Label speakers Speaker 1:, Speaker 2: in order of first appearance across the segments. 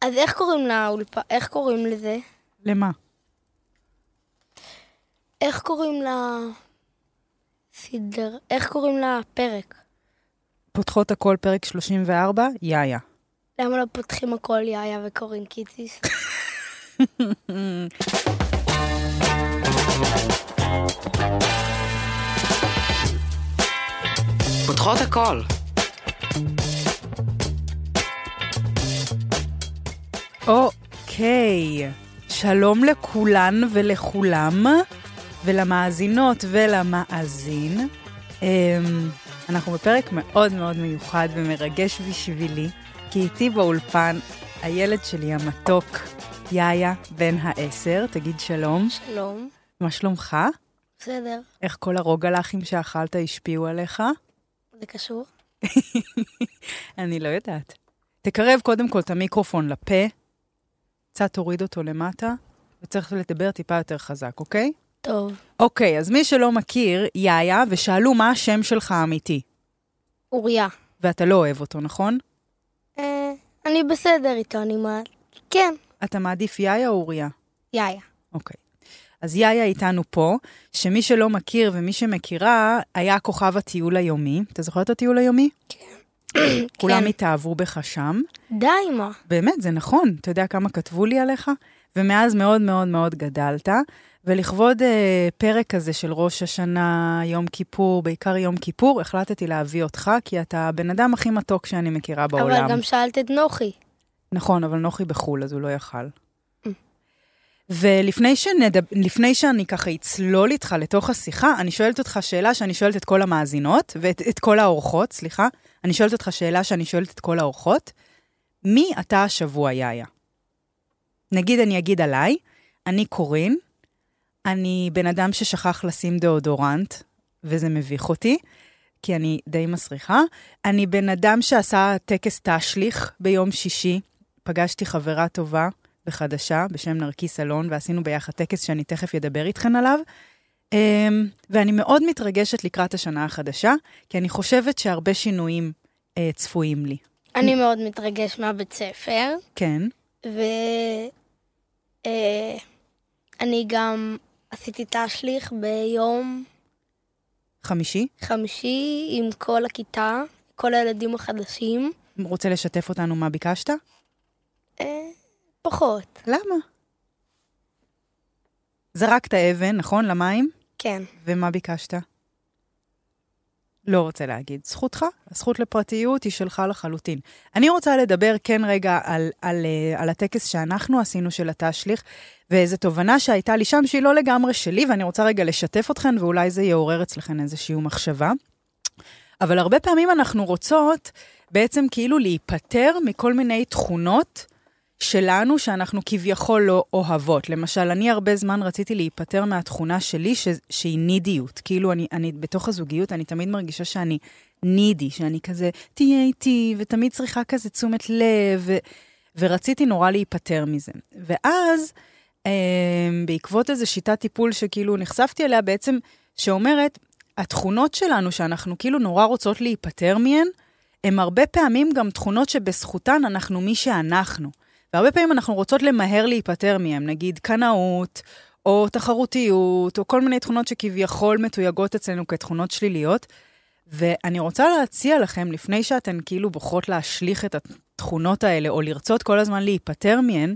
Speaker 1: אז איך קוראים לאולפ... איך קוראים לזה?
Speaker 2: למה?
Speaker 1: איך קוראים לסדר... איך קוראים לפרק?
Speaker 2: פותחות הכל פרק 34, יאיה.
Speaker 1: למה לא פותחים הכל יאיה וקוראים קיציס?
Speaker 3: פותחות הכל.
Speaker 2: אוקיי, שלום לכולן ולכולם, ולמאזינות ולמאזין. אמ, אנחנו בפרק מאוד מאוד מיוחד ומרגש בשבילי, כי איתי באולפן הילד שלי המתוק, יאיה, בן העשר, תגיד שלום.
Speaker 1: שלום.
Speaker 2: מה שלומך?
Speaker 1: בסדר.
Speaker 2: איך כל הרוגלחים שאכלת השפיעו עליך?
Speaker 1: זה קשור?
Speaker 2: אני לא יודעת. תקרב קודם כל את המיקרופון לפה, קצת תוריד אותו למטה, וצריך לדבר טיפה יותר חזק, אוקיי?
Speaker 1: טוב.
Speaker 2: אוקיי, אז מי שלא מכיר, יאיה, ושאלו מה השם שלך האמיתי,
Speaker 1: אוריה.
Speaker 2: ואתה לא אוהב אותו, נכון?
Speaker 1: אה, אני בסדר איתו, אני מה... כן.
Speaker 2: אתה מעדיף יאיה או אוריה?
Speaker 1: יאיה.
Speaker 2: אוקיי. אז יאיה איתנו פה, שמי שלא מכיר ומי שמכירה, היה כוכב הטיול היומי. אתה זוכר את הטיול היומי? כולם התאהבו בך שם.
Speaker 1: די, מה?
Speaker 2: באמת, זה נכון. אתה יודע כמה כתבו לי עליך? ומאז מאוד מאוד מאוד גדלת. ולכבוד אה, פרק כזה של ראש השנה, יום כיפור, בעיקר יום כיפור, החלטתי להביא אותך, כי אתה הבן אדם הכי מתוק שאני מכירה בעולם.
Speaker 1: אבל גם שאלת את נוחי.
Speaker 2: נכון, אבל נוחי בחו"ל, אז הוא לא יכל. ולפני שנדב... לפני שאני ככה אצלול איתך לתוך השיחה, אני שואלת אותך שאלה שאני שואלת את כל המאזינות, ואת את כל האורחות, סליחה. אני שואלת אותך שאלה שאני שואלת את כל האורחות. מי אתה השבוע, יאיה? נגיד אני אגיד עליי, אני קורין, אני בן אדם ששכח לשים דאודורנט, וזה מביך אותי, כי אני די מסריחה. אני בן אדם שעשה טקס תשליך ביום שישי. פגשתי חברה טובה וחדשה בשם נרקיס אלון, ועשינו ביחד טקס שאני תכף אדבר איתכן עליו. אמ, ואני מאוד מתרגשת לקראת השנה החדשה, כי אני חושבת שהרבה שינויים אה, צפויים לי.
Speaker 1: אני מאוד מתרגש מהבית ספר.
Speaker 2: כן,
Speaker 1: ואני אה, גם עשיתי תשליך ביום
Speaker 2: חמישי.
Speaker 1: חמישי עם כל הכיתה, כל הילדים החדשים.
Speaker 2: רוצה לשתף אותנו מה ביקשת?
Speaker 1: אה, פחות,
Speaker 2: למה? זרקת אבן, נכון? למים?
Speaker 1: כן.
Speaker 2: ומה ביקשת? לא רוצה להגיד. זכותך, הזכות לפרטיות היא שלך לחלוטין. אני רוצה לדבר כן רגע על, על, אה, על הטקס שאנחנו עשינו של התשליך, ואיזו תובנה שהייתה לי שם שהיא לא לגמרי שלי, ואני רוצה רגע לשתף אתכן, ואולי זה יעורר אצלכן איזושהי מחשבה. אבל הרבה פעמים אנחנו רוצות בעצם כאילו להיפטר מכל מיני תכונות שלנו שאנחנו כביכול לא אוהבות. למשל, אני הרבה זמן רציתי להיפטר מהתכונה שלי ש... שהיא נידיות. כאילו, אני, אני בתוך הזוגיות, אני תמיד מרגישה שאני נידי, שאני כזה, תהיה איתי, ותמיד צריכה כזה תשומת לב, ו... ורציתי נורא להיפטר מזה. ואז, אה, בעקבות איזו שיטת טיפול שכאילו נחשפתי אליה בעצם, שאומרת, התכונות שלנו שאנחנו כאילו נורא רוצות להיפטר מהן, הן הרבה פעמים גם תכונות שבזכותן אנחנו מי שאנחנו. והרבה פעמים אנחנו רוצות למהר להיפטר מהן, נגיד קנאות, או תחרותיות, או כל מיני תכונות שכביכול מתויגות אצלנו כתכונות שליליות. ואני רוצה להציע לכם, לפני שאתן כאילו בוחרות להשליך את התכונות האלה, או לרצות כל הזמן להיפטר מהן,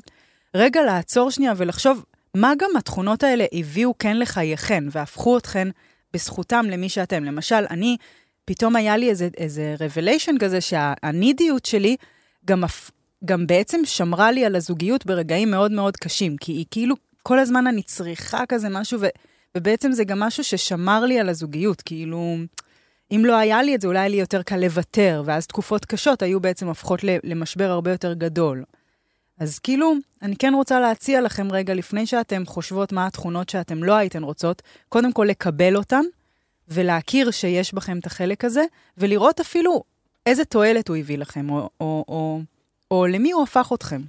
Speaker 2: רגע לעצור שנייה ולחשוב מה גם התכונות האלה הביאו כן לחייכן, והפכו אתכן בזכותם למי שאתם. למשל, אני, פתאום היה לי איזה, איזה רבליישן כזה שהנידיות שלי גם, הפ- גם בעצם שמרה לי על הזוגיות ברגעים מאוד מאוד קשים, כי היא כאילו, כל הזמן אני צריכה כזה משהו, ו, ובעצם זה גם משהו ששמר לי על הזוגיות, כאילו, אם לא היה לי את זה, אולי היה לי יותר קל לוותר, ואז תקופות קשות היו בעצם הופכות ל- למשבר הרבה יותר גדול. אז כאילו, אני כן רוצה להציע לכם רגע, לפני שאתם חושבות מה התכונות שאתם לא הייתן רוצות, קודם כל לקבל אותן, ולהכיר שיש בכם את החלק הזה, ולראות אפילו איזה תועלת הוא הביא לכם, או, או, או, או למי הוא הפך אתכם.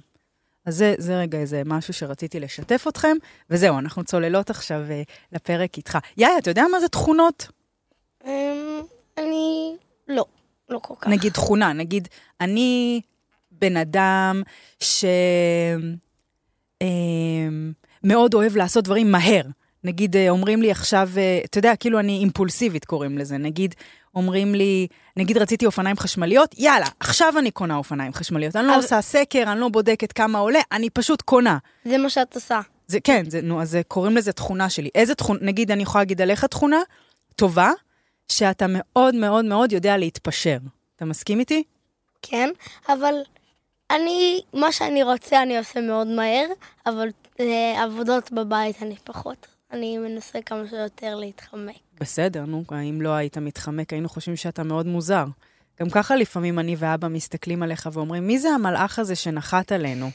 Speaker 2: אז זה, זה רגע איזה משהו שרציתי לשתף אתכם, וזהו, אנחנו צוללות עכשיו אה, לפרק איתך. יאיה, אתה יודע מה זה תכונות?
Speaker 1: אמ, אני... לא, לא כל כך.
Speaker 2: נגיד תכונה, נגיד, אני בן אדם ש... אה, מאוד אוהב לעשות דברים מהר. נגיד, אה, אומרים לי עכשיו, אה, אתה יודע, כאילו אני אימפולסיבית קוראים לזה, נגיד, אומרים לי, נגיד רציתי אופניים חשמליות, יאללה, עכשיו אני קונה אופניים חשמליות. אני לא
Speaker 1: אבל-
Speaker 2: עושה סקר, אני לא בודקת כמה עולה, אני פשוט קונה.
Speaker 1: זה מה שאת עושה.
Speaker 2: זה כן, זה, נו, אז זה- קוראים לזה תכונה שלי. איזה תכונה, נגיד, אני יכולה להגיד עליך תכונה טובה, שאתה מאוד מאוד מאוד יודע להתפשר. אתה מסכים איתי?
Speaker 1: כן, אבל אני, מה שאני רוצה אני עושה מאוד מהר, אבל אה, עבודות בבית אני פחות. אני מנסה כמה שיותר להתחמק.
Speaker 2: בסדר, נו, אם לא היית מתחמק, היינו חושבים שאתה מאוד מוזר. גם ככה לפעמים אני ואבא מסתכלים עליך ואומרים, מי זה המלאך הזה שנחת עלינו?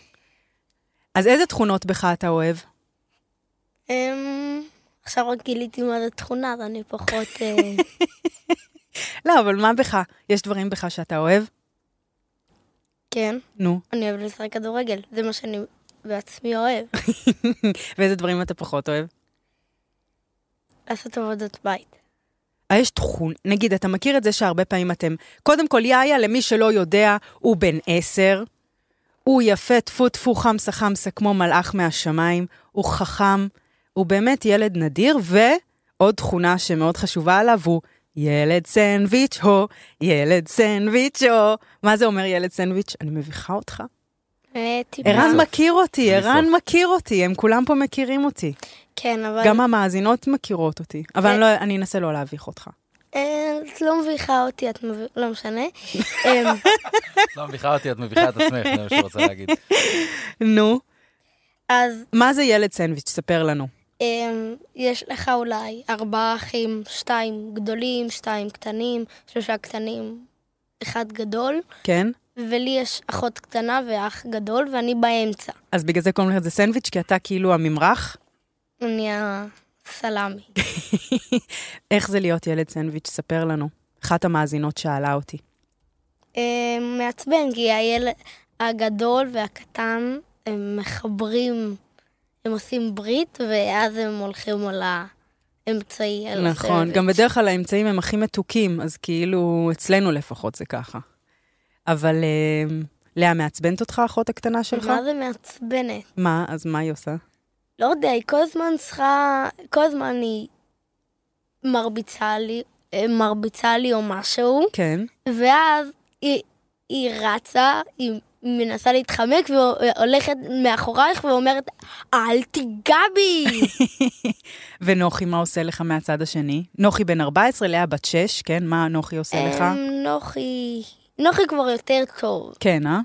Speaker 2: אז איזה תכונות בך אתה אוהב?
Speaker 1: אמ, עכשיו רק גיליתי מה זה תכונה, אז אני פחות... אה,
Speaker 2: לא, אבל מה בך? יש דברים בך שאתה אוהב?
Speaker 1: כן,
Speaker 2: נו.
Speaker 1: אני אוהב לשחק כדורגל, זה מה שאני בעצמי אוהב,
Speaker 2: ואיזה דברים אתה פחות אוהב?
Speaker 1: לעשות עבודות בית.
Speaker 2: אה, יש תכון, נגיד, אתה מכיר את זה שהרבה פעמים אתם... קודם כל, יאיה, למי שלא יודע, הוא בן עשר. הוא יפה, טפו טפו חמסה חמסה, כמו מלאך מהשמיים. הוא חכם. הוא באמת ילד נדיר, ועוד תכונה שמאוד חשובה עליו הוא ילד סנדוויץ' הו, ילד סנדוויץ' הו. מה זה אומר ילד סנדוויץ'? אני מביכה אותך.
Speaker 1: אה, טיפה.
Speaker 2: ערן
Speaker 3: סוף.
Speaker 2: מכיר אותי,
Speaker 3: בלי
Speaker 2: ערן
Speaker 3: סוף.
Speaker 2: מכיר אותי, הם כולם פה מכירים אותי.
Speaker 1: כן, אבל...
Speaker 2: גם המאזינות מכירות אותי, אבל אני לא- אני אנסה לא להביך אותך.
Speaker 1: אה, את לא מביכה אותי, את מביכה... לא משנה. אמ,
Speaker 3: לא מביכה אותי, את מביכה את עצמך, זה מה שאני רוצה להגיד.
Speaker 2: נו.
Speaker 1: אז
Speaker 2: מה זה ילד סנדוויץ'? ספר לנו.
Speaker 1: אמ, יש לך אולי ארבעה אחים, שתיים גדולים, שתיים קטנים, שלושה קטנים, אחד גדול,
Speaker 2: כן?
Speaker 1: ולי יש אחות קטנה ואח גדול, ואני באמצע.
Speaker 2: אז בגלל זה קוראים לך זה סנדוויץ', כי אתה כאילו הממרח.
Speaker 1: אני הסלאמי.
Speaker 2: איך זה להיות ילד סנדוויץ'? ספר לנו. אחת המאזינות שאלה אותי.
Speaker 1: אה, מעצבן, כי הילד הגדול והקטן, הם מחברים, הם עושים ברית, ואז הם הולכים על האמצעי. על
Speaker 2: נכון,
Speaker 1: הסנדוויץ'.
Speaker 2: גם בדרך כלל האמצעים הם הכי מתוקים, אז כאילו, אצלנו לפחות זה ככה. אבל אה, לאה, מעצבנת אותך האחות הקטנה שלך?
Speaker 1: מה זה מעצבנת?
Speaker 2: מה? אז מה היא עושה?
Speaker 1: לא יודע, היא כל הזמן צריכה, כל הזמן היא מרביצה לי, אה, מרביצה לי או משהו,
Speaker 2: כן.
Speaker 1: ואז היא, היא רצה, היא מנסה להתחמק והולכת מאחורייך ואומרת, אל תיגע בי!
Speaker 2: ונוחי, מה עושה לך מהצד השני? נוחי בן 14, לאה בת 6, כן? מה נוחי עושה לך?
Speaker 1: אמ, נוחי, נוחי כבר יותר טוב.
Speaker 2: כן, אה?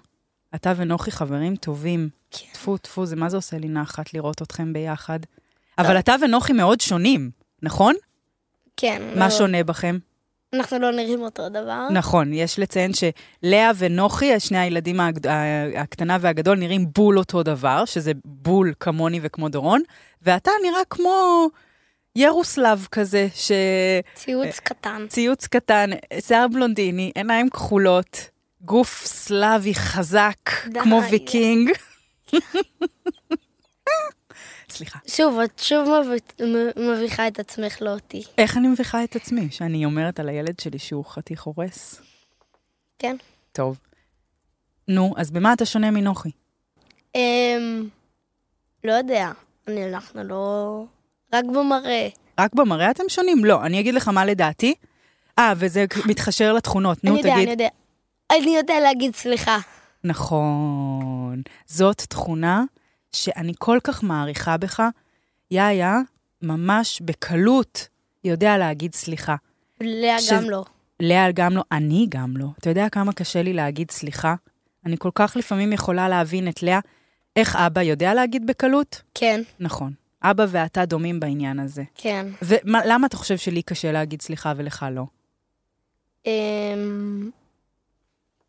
Speaker 2: אתה ונוחי חברים טובים.
Speaker 1: כן.
Speaker 2: טפו, טפו, זה מה זה עושה לי נחת לראות אתכם ביחד. אבל אתה ונוחי מאוד שונים, נכון?
Speaker 1: כן.
Speaker 2: מה
Speaker 1: מאוד.
Speaker 2: שונה בכם?
Speaker 1: אנחנו לא נראים אותו דבר.
Speaker 2: נכון, יש לציין שלאה ונוחי, שני הילדים הגד- ה- הקטנה והגדול, נראים בול אותו דבר, שזה בול כמוני וכמו דורון, ואתה נראה כמו ירוסלב כזה, שציוץ
Speaker 1: ציוץ קטן.
Speaker 2: קטן, שיער בלונדיני, עיניים כחולות, גוף סלאבי חזק,
Speaker 1: די.
Speaker 2: כמו ויקינג. סליחה.
Speaker 1: שוב, את שוב מביט- מ- מביכה את עצמך, לא אותי.
Speaker 2: איך אני מביכה את עצמי שאני אומרת על הילד שלי שהוא חתיך הורס?
Speaker 1: כן.
Speaker 2: טוב. נו, אז במה אתה שונה מנוחי?
Speaker 1: אמ... לא יודע. אני, אנחנו לא... רק במראה.
Speaker 2: רק במראה אתם שונים? לא, אני אגיד לך מה לדעתי. אה, וזה מתחשר לתכונות, נו
Speaker 1: אני יודע,
Speaker 2: תגיד.
Speaker 1: אני יודע. אני יודע להגיד סליחה.
Speaker 2: נכון. זאת תכונה שאני כל כך מעריכה בך. יאיה, ממש בקלות יודע להגיד סליחה.
Speaker 1: לאה
Speaker 2: שזה-
Speaker 1: גם לא.
Speaker 2: לאה גם לא, אני גם לא. אתה יודע כמה קשה לי להגיד סליחה? אני כל כך לפעמים יכולה להבין את לאה, איך אבא יודע להגיד בקלות?
Speaker 1: כן,
Speaker 2: נכון. אבא ואתה דומים בעניין הזה.
Speaker 1: כן.
Speaker 2: ולמה אתה חושב שלי קשה להגיד סליחה ולך לא?
Speaker 1: אמ...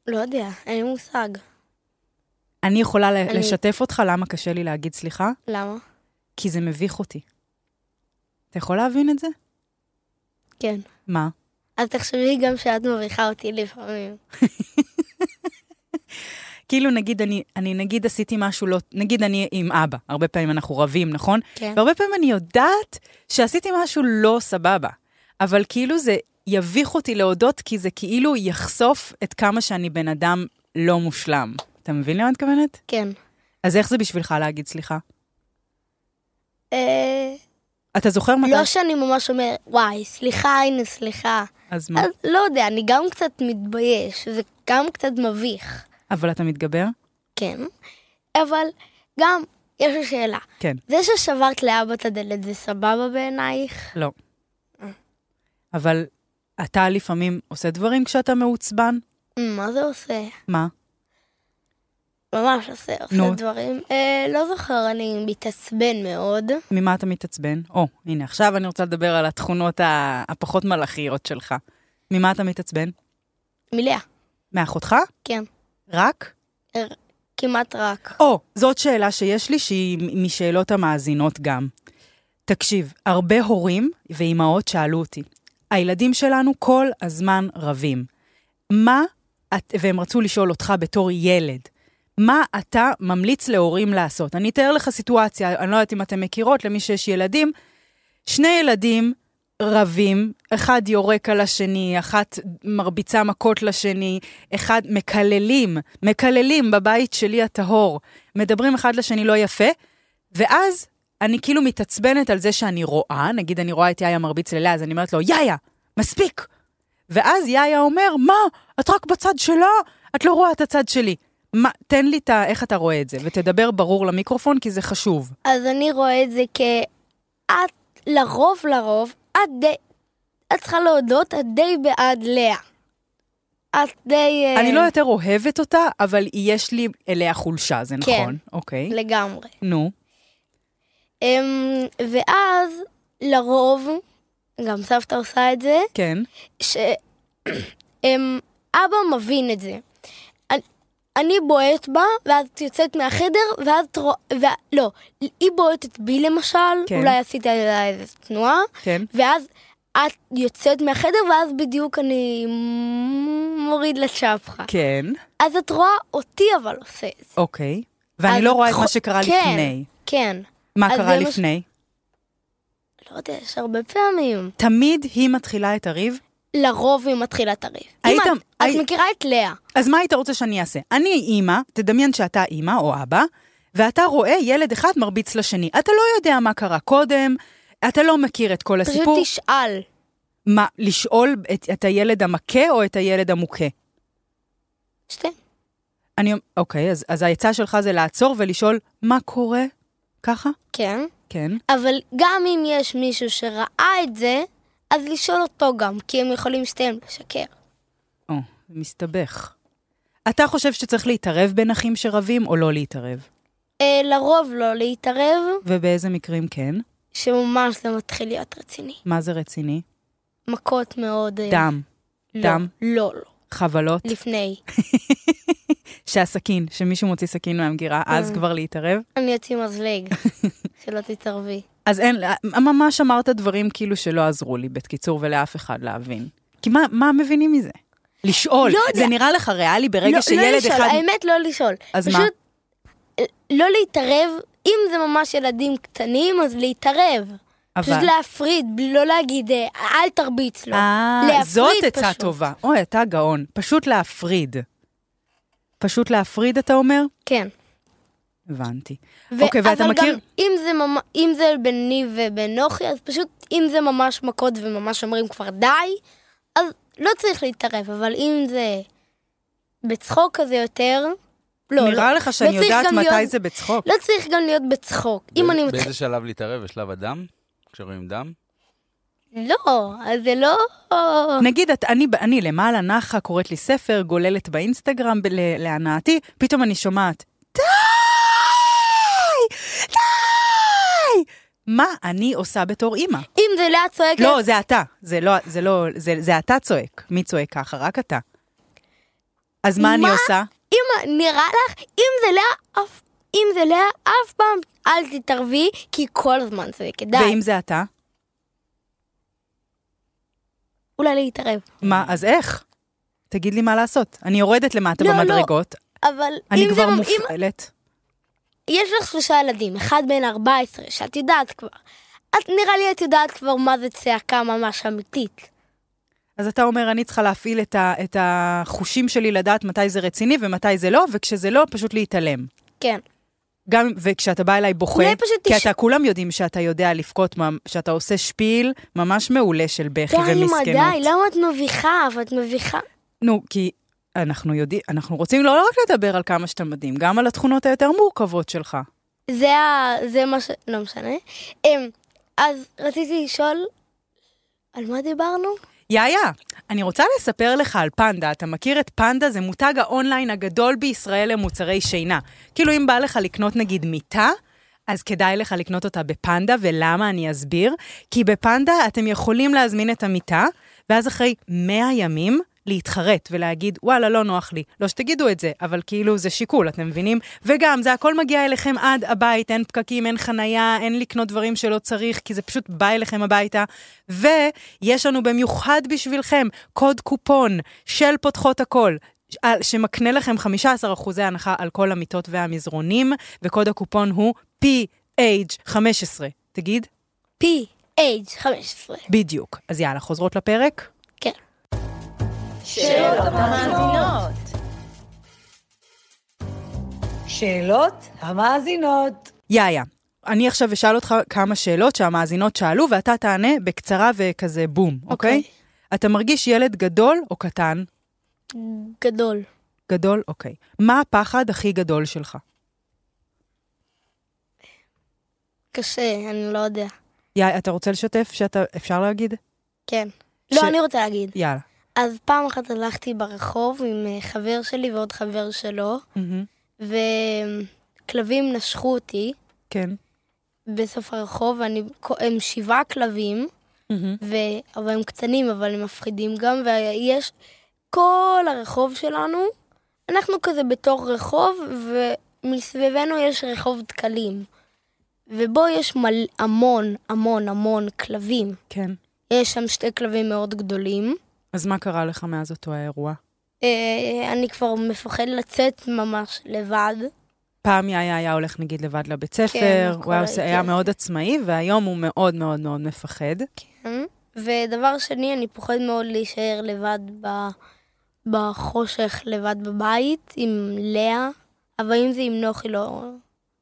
Speaker 1: לא יודע, אין לי מושג.
Speaker 2: אני יכולה אני...
Speaker 1: אני-
Speaker 2: לשתף אותך למה קשה לי להגיד סליחה?
Speaker 1: למה?
Speaker 2: כי זה מביך אותי. אתה יכול להבין את זה?
Speaker 1: כן.
Speaker 2: מה?
Speaker 1: אז תחשבי גם שאת מביכה אותי לפעמים.
Speaker 2: כאילו נגיד אני, אני נגיד עשיתי משהו לא, נגיד אני עם אבא, הרבה פעמים אנחנו רבים, נכון?
Speaker 1: כן.
Speaker 2: והרבה פעמים אני יודעת שעשיתי משהו לא סבבה, אבל כאילו זה יביך אותי להודות, כי זה כאילו יחשוף את כמה שאני בן אדם לא מושלם. אתה מבין למה אני מתכוונת?
Speaker 1: כן.
Speaker 2: אז איך זה בשבילך להגיד סליחה?
Speaker 1: אה,
Speaker 2: אתה זוכר מתי?
Speaker 1: לא שאני ממש אומר, וואי, סליחה, הנה, סליחה.
Speaker 2: אז מה?
Speaker 1: אז לא יודע, אני גם קצת מתבייש, זה גם קצת מביך,
Speaker 2: אבל אתה מתגבר?
Speaker 1: כן. אבל גם, יש לי שאלה.
Speaker 2: כן.
Speaker 1: זה ששברת לאבא את הדלת זה סבבה בעינייך?
Speaker 2: לא. אבל אתה לפעמים עושה דברים כשאתה מעוצבן?
Speaker 1: מה זה עושה?
Speaker 2: מה?
Speaker 1: ממש עושה, עושה
Speaker 2: נו.
Speaker 1: דברים. אה, לא זוכר, אני מתעצבן מאוד.
Speaker 2: ממה אתה מתעצבן? או, הנה, עכשיו אני רוצה לדבר על התכונות ה- הפחות מלאכיות שלך. ממה אתה מתעצבן?
Speaker 1: מלאה,
Speaker 2: מאחותך?
Speaker 1: כן.
Speaker 2: רק?
Speaker 1: כמעט רק.
Speaker 2: או, זאת שאלה שיש לי, שהיא מ- משאלות המאזינות גם. תקשיב, הרבה הורים ואימהות שאלו אותי, הילדים שלנו כל הזמן רבים. מה, את, והם רצו לשאול אותך בתור ילד, מה אתה ממליץ להורים לעשות? אני אתאר לך סיטואציה, אני לא יודעת אם אתם מכירות, למי שיש ילדים, שני ילדים רבים, אחד יורק על השני, אחת מרביצה מכות לשני, אחד מקללים, מקללים בבית שלי הטהור, מדברים אחד לשני לא יפה, ואז אני כאילו מתעצבנת על זה שאני רואה, נגיד אני רואה את יאיה מרביץ ללאה, אז אני אומרת לו, יאיה, מספיק! ואז יאיה אומר, מה, את רק בצד שלה, את לא רואה את הצד שלי. מה, תן לי את ה... איך אתה רואה את זה, ותדבר ברור למיקרופון, כי זה חשוב.
Speaker 1: אז אני רואה את זה כ... את, לרוב לרוב, את די... את צריכה להודות, את די בעד לאה. את די... אה,
Speaker 2: אני לא יותר אוהבת אותה, אבל יש לי אליה חולשה, זה
Speaker 1: כן.
Speaker 2: נכון. אוקיי.
Speaker 1: לגמרי.
Speaker 2: נו,
Speaker 1: אמ, ואז, לרוב, גם סבתא עושה את זה,
Speaker 2: כן.
Speaker 1: ש... אמ, אבא מבין את זה. אני- אני בועט בה, ואז את יוצאת מהחדר, ואז את רואה... ו... לא, היא בועטת בי למשל,
Speaker 2: כן.
Speaker 1: כן. אולי עשית לה איזה תנועה,
Speaker 2: כן.
Speaker 1: ואז את יוצאת מהחדר, ואז בדיוק אני מוריד לה צ'פחה.
Speaker 2: כן,
Speaker 1: אז את רואה אותי אבל עושה את זה.
Speaker 2: אוקיי. ואני
Speaker 1: אז
Speaker 2: לא רואה את
Speaker 1: חו-
Speaker 2: מה שקרה
Speaker 1: כן,
Speaker 2: לפני.
Speaker 1: כן.
Speaker 2: מה
Speaker 1: אז
Speaker 2: קרה
Speaker 1: זה מה ש-
Speaker 2: לפני?
Speaker 1: לא יודע, יש הרבה פעמים.
Speaker 2: תמיד היא מתחילה את הריב.
Speaker 1: לרוב היא מתחילה את הריב. אם
Speaker 2: היית-
Speaker 1: את, את
Speaker 2: הי-
Speaker 1: מכירה את לאה.
Speaker 2: אז מה היית רוצה שאני אעשה? אני אימא, תדמיין שאתה אימא או אבא, ואתה רואה ילד אחד מרביץ לשני. אתה לא יודע מה קרה קודם, אתה לא מכיר את כל
Speaker 1: פשוט
Speaker 2: הסיפור.
Speaker 1: תשאל.
Speaker 2: מה, לשאול את, את הילד המכה או את הילד המוכה?
Speaker 1: שתי.
Speaker 2: אני, אומ- אוקיי, אז, אז העצה שלך זה לעצור ולשאול מה קורה? ככה?
Speaker 1: כן.
Speaker 2: כן.
Speaker 1: אבל גם אם יש מישהו שראה את זה, אז לשאול אותו גם, כי הם יכולים שתיהם לשקר.
Speaker 2: או, זה מסתבך. אתה חושב שצריך להתערב בין אחים שרבים או לא להתערב?
Speaker 1: אה, לרוב לא להתערב,
Speaker 2: ובאיזה מקרים כן?
Speaker 1: שממש זה מתחיל להיות רציני.
Speaker 2: מה זה רציני?
Speaker 1: מכות מאוד... אה,
Speaker 2: דם,
Speaker 1: לא,
Speaker 2: דם.
Speaker 1: לא, לא.
Speaker 2: חבלות,
Speaker 1: לפני.
Speaker 2: שהסכין, שמישהו מוציא סכין מהמגירה, אז
Speaker 1: אה.
Speaker 2: כבר להתערב?
Speaker 1: אני אוציא מזלג, שלא תתערבי.
Speaker 2: אז אין, ממש אמרת דברים כאילו שלא עזרו לי, בקיצור, ולאף אחד להבין. כי מה, מה מבינים מזה? לשאול.
Speaker 1: לא יודע.
Speaker 2: זה נראה לך ריאלי ברגע
Speaker 1: לא,
Speaker 2: שילד
Speaker 1: לא לשאול,
Speaker 2: אחד...
Speaker 1: האמת לא לשאול.
Speaker 2: אז מה?
Speaker 1: פשוט אה, לא להתערב, אם זה ממש ילדים קטנים, אז להתערב.
Speaker 2: אבל...
Speaker 1: פשוט להפריד, בלי- לא להגיד, אה, אל תרביץ לו.
Speaker 2: אה,
Speaker 1: להפריד
Speaker 2: זאת עצה
Speaker 1: פשוט.
Speaker 2: טובה. אוי, אתה גאון. פשוט להפריד. פשוט להפריד, אתה אומר?
Speaker 1: כן.
Speaker 2: הבנתי.
Speaker 1: ו-
Speaker 2: אוקיי, ואתה
Speaker 1: אבל
Speaker 2: מכיר-
Speaker 1: גם אם זה, ממ... אם זה ביני ובין נוחי, אז פשוט אם זה ממש מכות וממש אומרים כבר די, אז לא צריך להתערב, אבל אם זה בצחוק כזה יותר, לא, לא.
Speaker 2: נראה לך שאני
Speaker 1: צריך
Speaker 2: יודעת
Speaker 1: גם
Speaker 2: מתי
Speaker 1: להיות-
Speaker 2: זה בצחוק.
Speaker 1: לא צריך גם להיות בצחוק. אם
Speaker 3: באיזה-
Speaker 1: אני
Speaker 3: באיזה
Speaker 1: מתחיל...
Speaker 3: שלב להתערב? בשלב הדם? כשרואים דם?
Speaker 1: לא, אז זה לא...
Speaker 2: נגיד, את, אני, אני למעלה נחה, קוראת לי ספר, גוללת באינסטגרם ב- ל- להנאתי, פתאום אני שומעת, די! די! מה אני עושה בתור אימא?
Speaker 1: אם זה לאה צועקת,
Speaker 2: לא, זה אתה. זה לא, זה לא, זה, זה אתה צועק. מי צועק ככה? רק אתה. אז מה אני
Speaker 1: מה?
Speaker 2: עושה?
Speaker 1: אם נראה לך, אם זה לאה, אף... אם זה לאה, אף פעם אל תתערבי, כי היא כל הזמן צועקת. די,
Speaker 2: ואם זה אתה?
Speaker 1: אולי להתערב.
Speaker 2: מה, אז איך? תגיד לי מה לעשות. אני יורדת למטה
Speaker 1: אה. לא, לא.
Speaker 2: במדרגות,
Speaker 1: אבל
Speaker 2: אני
Speaker 1: אם זה...
Speaker 2: כבר
Speaker 1: ממ- אם
Speaker 2: מופעלת.
Speaker 1: יש לך שלושה ילדים, אחד בן 14, שאת יודעת כבר. את נראה לי את יודעת כבר מה זה צעקה ממש אמיתית.
Speaker 2: אז אתה אומר, אני צריכה להפעיל את, ה, את החושים שלי לדעת מתי זה רציני ומתי זה לא, וכשזה לא, פשוט להתעלם.
Speaker 1: כן.
Speaker 2: גם, וכשאתה בא אליי בוכה,
Speaker 1: אולי פשוט
Speaker 2: כי
Speaker 1: תש-
Speaker 2: אתה, כולם יודעים שאתה יודע לבכות, ממ- שאתה עושה שפיל ממש מעולה של בכי
Speaker 1: די, לא-
Speaker 2: ומסכנות.
Speaker 1: אמא, די, למה את מביכה? ואת מביכה.
Speaker 2: נו, כי אנחנו יודעים, אנחנו רוצים לא רק לדבר על כמה שאתה מדהים, גם על התכונות היותר מורכבות שלך.
Speaker 1: זה, ה... זה מה ש... לא משנה. אמ, אז רציתי לשאול, על מה דיברנו?
Speaker 2: יאיה, אני רוצה לספר לך על פנדה. אתה מכיר את פנדה? זה מותג האונליין הגדול בישראל למוצרי שינה. כאילו, אם בא לך לקנות נגיד מיטה, אז כדאי לך לקנות אותה בפנדה, ולמה אני אסביר? כי בפנדה אתם יכולים להזמין את המיטה, ואז אחרי 100 ימים להתחרט ולהגיד, וואלה, לא נוח לי. לא שתגידו את זה, אבל כאילו זה שיקול, אתם מבינים? וגם, זה הכל מגיע אליכם עד הבית, אין פקקים, אין חנייה, אין לקנות דברים שלא צריך, כי זה פשוט בא אליכם הביתה. ויש לנו במיוחד בשבילכם קוד קופון של פותחות הכל. ש- על- שמקנה לכם 15 אחוזי הנחה על כל המיטות והמזרונים, וקוד הקופון הוא PH15. תגיד?
Speaker 1: PH 15.
Speaker 2: בדיוק. אז יאללה, חוזרות לפרק?
Speaker 1: כן.
Speaker 4: שאלות המאזינות. שאלות המאזינות.
Speaker 2: יאיה, אני עכשיו אשאל אותך כמה שאלות שהמאזינות שאלו, ואתה תענה בקצרה וכזה בום, אוקיי?
Speaker 1: אוקיי.
Speaker 2: אתה מרגיש ילד גדול או קטן?
Speaker 1: גדול.
Speaker 2: גדול, אוקיי. מה הפחד הכי גדול שלך?
Speaker 1: קשה, אני לא יודע.
Speaker 2: יאיה, אתה רוצה לשתף שאתה, אפשר להגיד?
Speaker 1: כן.
Speaker 2: ש-
Speaker 1: לא, אני רוצה להגיד.
Speaker 2: יאללה.
Speaker 1: אז פעם אחת הלכתי ברחוב עם אה, חבר שלי ועוד חבר שלו,
Speaker 2: מהמם.
Speaker 1: וכלבים נשכו אותי
Speaker 2: כן.
Speaker 1: בסוף הרחוב, אני... הם שבעה כלבים,
Speaker 2: מהמם.
Speaker 1: ו... אבל הם קטנים, אבל הם מפחידים גם, ויש כל הרחוב שלנו, אנחנו כזה בתור רחוב, ומסביבנו יש רחוב דקלים, ובו יש מל... המון, המון, המון כלבים.
Speaker 2: כן.
Speaker 1: יש שם שתי כלבים מאוד גדולים.
Speaker 2: אז מה קרה לך מאז אותו האירוע?
Speaker 1: אה, אני כבר מפחד לצאת ממש לבד.
Speaker 2: פעם יאיה היה הולך נגיד לבד לבית ספר, הוא
Speaker 1: הכל
Speaker 2: כן, היה, עושה- היה
Speaker 1: הייתי-
Speaker 2: מאוד עצמאי, והיום הוא מאוד מאוד מאוד מפחד.
Speaker 1: כן. ודבר שני, אני פוחד מאוד להישאר לבד ב... בחושך, לבד בבית, עם לאה, אבל אם זה עם נוחי, לא...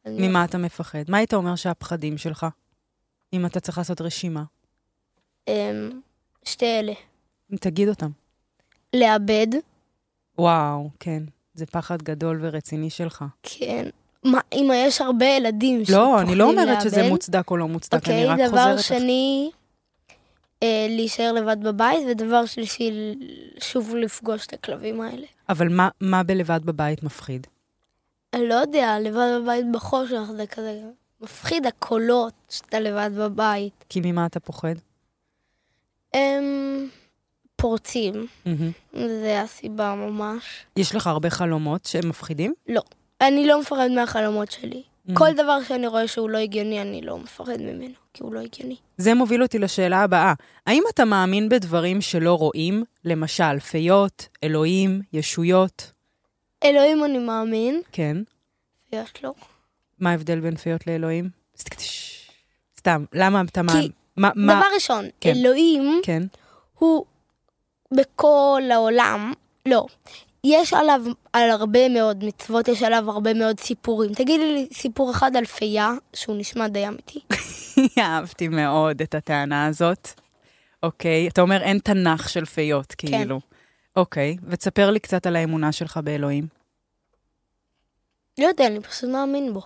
Speaker 1: אני-
Speaker 2: ממה אתה מפחד? מה היית אומר שהפחדים שלך? אם אתה צריך לעשות רשימה.
Speaker 1: אמ, שתי אלה.
Speaker 2: תגיד אותם.
Speaker 1: לאבד,
Speaker 2: וואו, כן. זה פחד גדול ורציני שלך.
Speaker 1: כן. מה, אמא, יש הרבה ילדים
Speaker 2: לא, אני לא
Speaker 1: שפוחדים
Speaker 2: אומרת שזה
Speaker 1: לאבד.
Speaker 2: מוצדק או לא מוצדק, אני
Speaker 1: אוקיי,
Speaker 2: רק
Speaker 1: דבר
Speaker 2: חוזרת. לך.
Speaker 1: שני, אה, להישאר לבד בבית, ודבר שלישי, ל- שוב לפגוש את הכלבים האלה.
Speaker 2: אבל מה- מה בלבד בבית מפחיד?
Speaker 1: אני לא יודע, לבד בבית בחושך זה כזה מפחיד, הקולות שאתה לבד בבית.
Speaker 2: כי ממה אתה פוחד?
Speaker 1: הם אמ, פורצים,
Speaker 2: מהמם.
Speaker 1: זה הסיבה ממש.
Speaker 2: יש לך הרבה חלומות שהם מפחידים?
Speaker 1: אני לא מפחד מהחלומות שלי.
Speaker 2: מהמם.
Speaker 1: כל דבר שאני רואה שהוא לא הגיוני, אני לא מפחד ממנו, כי הוא לא הגיוני.
Speaker 2: זה מוביל אותי לשאלה הבאה. האם אתה מאמין בדברים שלא רואים? למשל, פיות, אלוהים, ישויות?
Speaker 1: אלוהים אני מאמין,
Speaker 2: כן.
Speaker 1: יש לו.
Speaker 2: מה ההבדל בין פיות לאלוהים? סטקטש. סתם, למה אתה מאמין?
Speaker 1: כי-
Speaker 2: מה, מה,
Speaker 1: דבר ראשון,
Speaker 2: כן.
Speaker 1: אלוהים
Speaker 2: כן.
Speaker 1: הוא בכל העולם, לא. יש עליו, על הרבה מאוד מצוות, יש עליו הרבה מאוד סיפורים. תגידי לי סיפור אחד על פייה, שהוא נשמע די אמיתי.
Speaker 2: אהבתי מאוד את הטענה הזאת. אוקיי, אתה אומר אין תנ"ך של פיות, כאילו. אוקיי, ותספר לי קצת על האמונה שלך באלוהים.
Speaker 1: לא יודע, אני פשוט מאמין בו.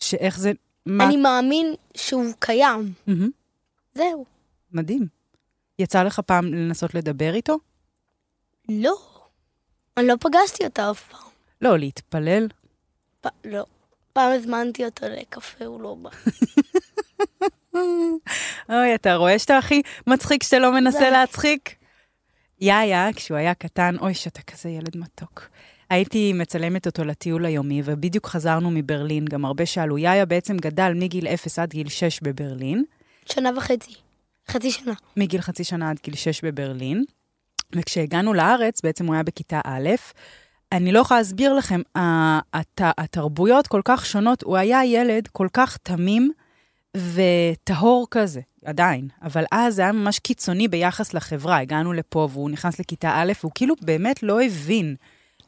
Speaker 2: שאיך זה... מה...
Speaker 1: מה? אני מאמין שהוא קיים.
Speaker 2: מהמם,
Speaker 1: זהו.
Speaker 2: מדהים. יצא לך פעם לנסות לדבר איתו?
Speaker 1: לא. אני לא פגשתי אותו אף פעם.
Speaker 2: לא, להתפלל.
Speaker 1: פ- לא. פעם הזמנתי אותו לקפה, הוא לא בא.
Speaker 2: אוי, אתה רואה שאתה הכי מצחיק שאתה לא מנסה
Speaker 1: די.
Speaker 2: להצחיק? יאיה, כשהוא היה קטן, אוי, שאתה כזה ילד מתוק. הייתי מצלמת אותו לטיול היומי, ובדיוק חזרנו מברלין. גם הרבה שאלו, יאיה בעצם גדל מגיל 0 עד גיל 6 בברלין.
Speaker 1: שנה וחצי. חצי שנה.
Speaker 2: מגיל חצי שנה עד גיל שש בברלין, וכשהגענו לארץ, בעצם הוא היה בכיתה א', אני לא יכולה להסביר לכם, ה- הת- התרבויות כל כך שונות, הוא היה ילד כל כך תמים וטהור כזה, עדיין. אבל אז זה היה ממש קיצוני ביחס לחברה. הגענו לפה והוא נכנס לכיתה א', והוא כאילו באמת לא הבין.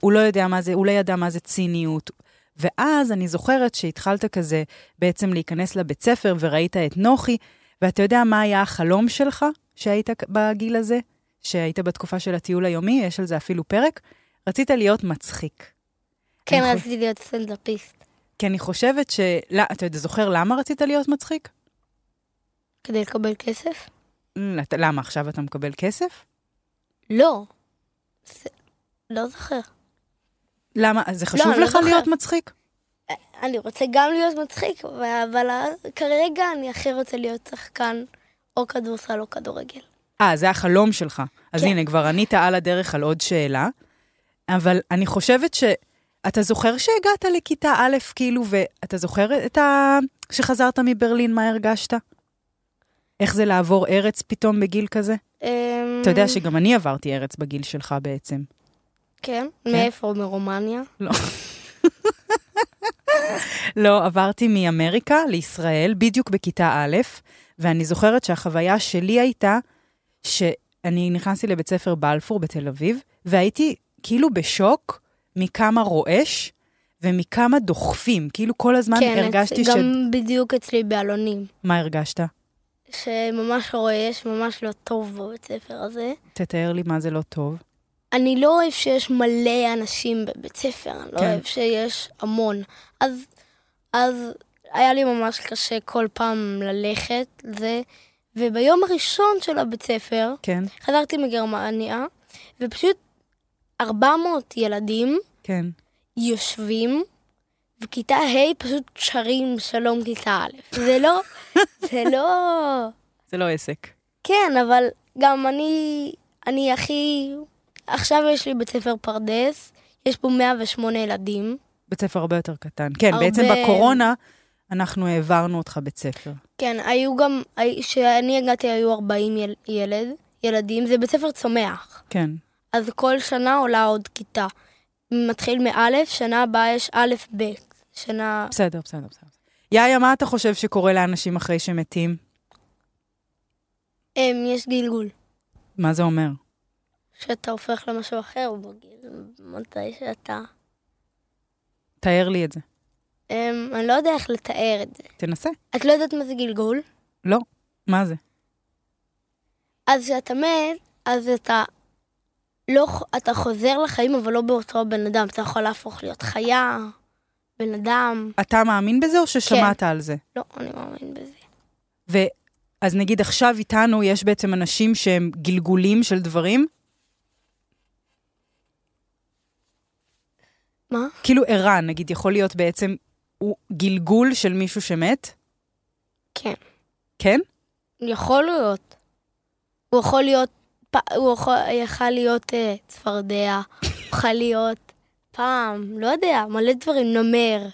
Speaker 2: הוא לא יודע מה זה, הוא לא ידע מה זה ציניות. ואז אני זוכרת שהתחלת כזה בעצם להיכנס לבית ספר וראית את נוחי, ואתה יודע מה היה החלום שלך שהיית כ- בגיל הזה? שהיית בתקופה של הטיול היומי, יש על זה אפילו פרק? רצית להיות מצחיק.
Speaker 1: כן,
Speaker 2: אני חוש-
Speaker 1: רציתי להיות סטנדאפיסט,
Speaker 2: כי אני חושבת ש... לא, אתה יודע, זוכר למה רצית להיות מצחיק?
Speaker 1: כדי לקבל כסף?
Speaker 2: אמ, אתה- למה עכשיו אתה מקבל כסף?
Speaker 1: לא. זה- לא זוכר.
Speaker 2: למה? אז זה חשוב
Speaker 1: לא
Speaker 2: לך
Speaker 1: זוכר.
Speaker 2: להיות מצחיק?
Speaker 1: אני רוצה גם להיות מצחיק, אבל כרגע אני הכי רוצה להיות שחקן או כדורסל או כדורגל.
Speaker 2: אה, זה החלום שלך. אז
Speaker 1: כן.
Speaker 2: הנה, כבר ענית על הדרך על עוד שאלה, אבל אני חושבת ש... אתה זוכר שהגעת לכיתה א', כאילו, ואתה זוכר את ה... שחזרת מברלין, מה הרגשת? איך זה לעבור ארץ פתאום בגיל כזה?
Speaker 1: אמ,
Speaker 2: אתה
Speaker 1: Mm.
Speaker 2: יודע שגם אני עברתי ארץ בגיל שלך בעצם.
Speaker 1: כן? מאיפה? מרומניה?
Speaker 2: לא, עברתי מאמריקה לישראל, בדיוק בכיתה א', ואני זוכרת שהחוויה שלי הייתה שאני נכנסתי לבית ספר בלפור בתל אביב, והייתי כאילו בשוק מכמה רועש ומכמה דוחפים. כאילו כל הזמן
Speaker 1: כן,
Speaker 2: הרגשתי
Speaker 1: אצ-
Speaker 2: ש...
Speaker 1: גם בדיוק אצלי באלונים.
Speaker 2: מה הרגשת?
Speaker 1: שממש רועש, ממש לא טוב בבית ספר הזה.
Speaker 2: תתאר לי מה זה לא טוב.
Speaker 1: אני לא אוהב שיש מלא אנשים בבית ספר, אני לא
Speaker 2: כן.
Speaker 1: אוהב שיש המון. אז, אז היה לי ממש קשה כל פעם ללכת לזה, וביום הראשון של הבית ספר,
Speaker 2: כן,
Speaker 1: חזרתי מגרמניה, ופשוט 400 ילדים
Speaker 2: כן.
Speaker 1: יושבים, וכיתה ה' פשוט שרים שלום כיתה א'. זה לא, זה לא...
Speaker 2: זה לא עסק.
Speaker 1: כן, אבל גם אני, אני הכי... עכשיו יש לי בית ספר פרדס, יש פה 108 ילדים.
Speaker 2: בית ספר הרבה יותר קטן. כן,
Speaker 1: הרבה-
Speaker 2: בעצם בקורונה אנחנו העברנו אותך בית ספר.
Speaker 1: כן, היו גם, כשאני הגעתי היו 40 יל, ילד, ילדים, זה בית ספר צומח.
Speaker 2: כן.
Speaker 1: אז כל שנה עולה עוד כיתה. מתחיל מאלף, שנה הבאה יש א', ב', שנה...
Speaker 2: בסדר, בסדר, בסדר. יאיה, מה אתה חושב שקורה לאנשים אחרי שמתים?
Speaker 1: הם, אמ, יש גלגול.
Speaker 2: מה זה אומר?
Speaker 1: שאתה הופך למשהו אחר בגיל, מתי שאתה...
Speaker 2: תאר לי את זה.
Speaker 1: הם, אני לא יודע איך לתאר את זה.
Speaker 2: תנסה.
Speaker 1: את לא יודעת מה זה גלגול?
Speaker 2: לא. מה זה?
Speaker 1: אז כשאתה מת, אז אתה לא, ח- אתה חוזר לחיים, אבל לא באותו הבן אדם. אתה יכול להפוך להיות חיה, בן אדם.
Speaker 2: אתה מאמין בזה או ששמעת על זה?
Speaker 1: לא, אני מאמין בזה.
Speaker 2: ו... אז נגיד עכשיו איתנו יש בעצם אנשים שהם גלגולים של דברים?
Speaker 1: מה?
Speaker 2: כאילו ערן, נגיד, יכול להיות בעצם הוא גלגול של מישהו שמת?
Speaker 1: כן.
Speaker 2: כן?
Speaker 1: יכול להיות. הוא יכול להיות, פ- הוא יכול, יכל להיות אה, צפרדע, יוכל להיות פעם, לא יודע, מלא דברים, נמר.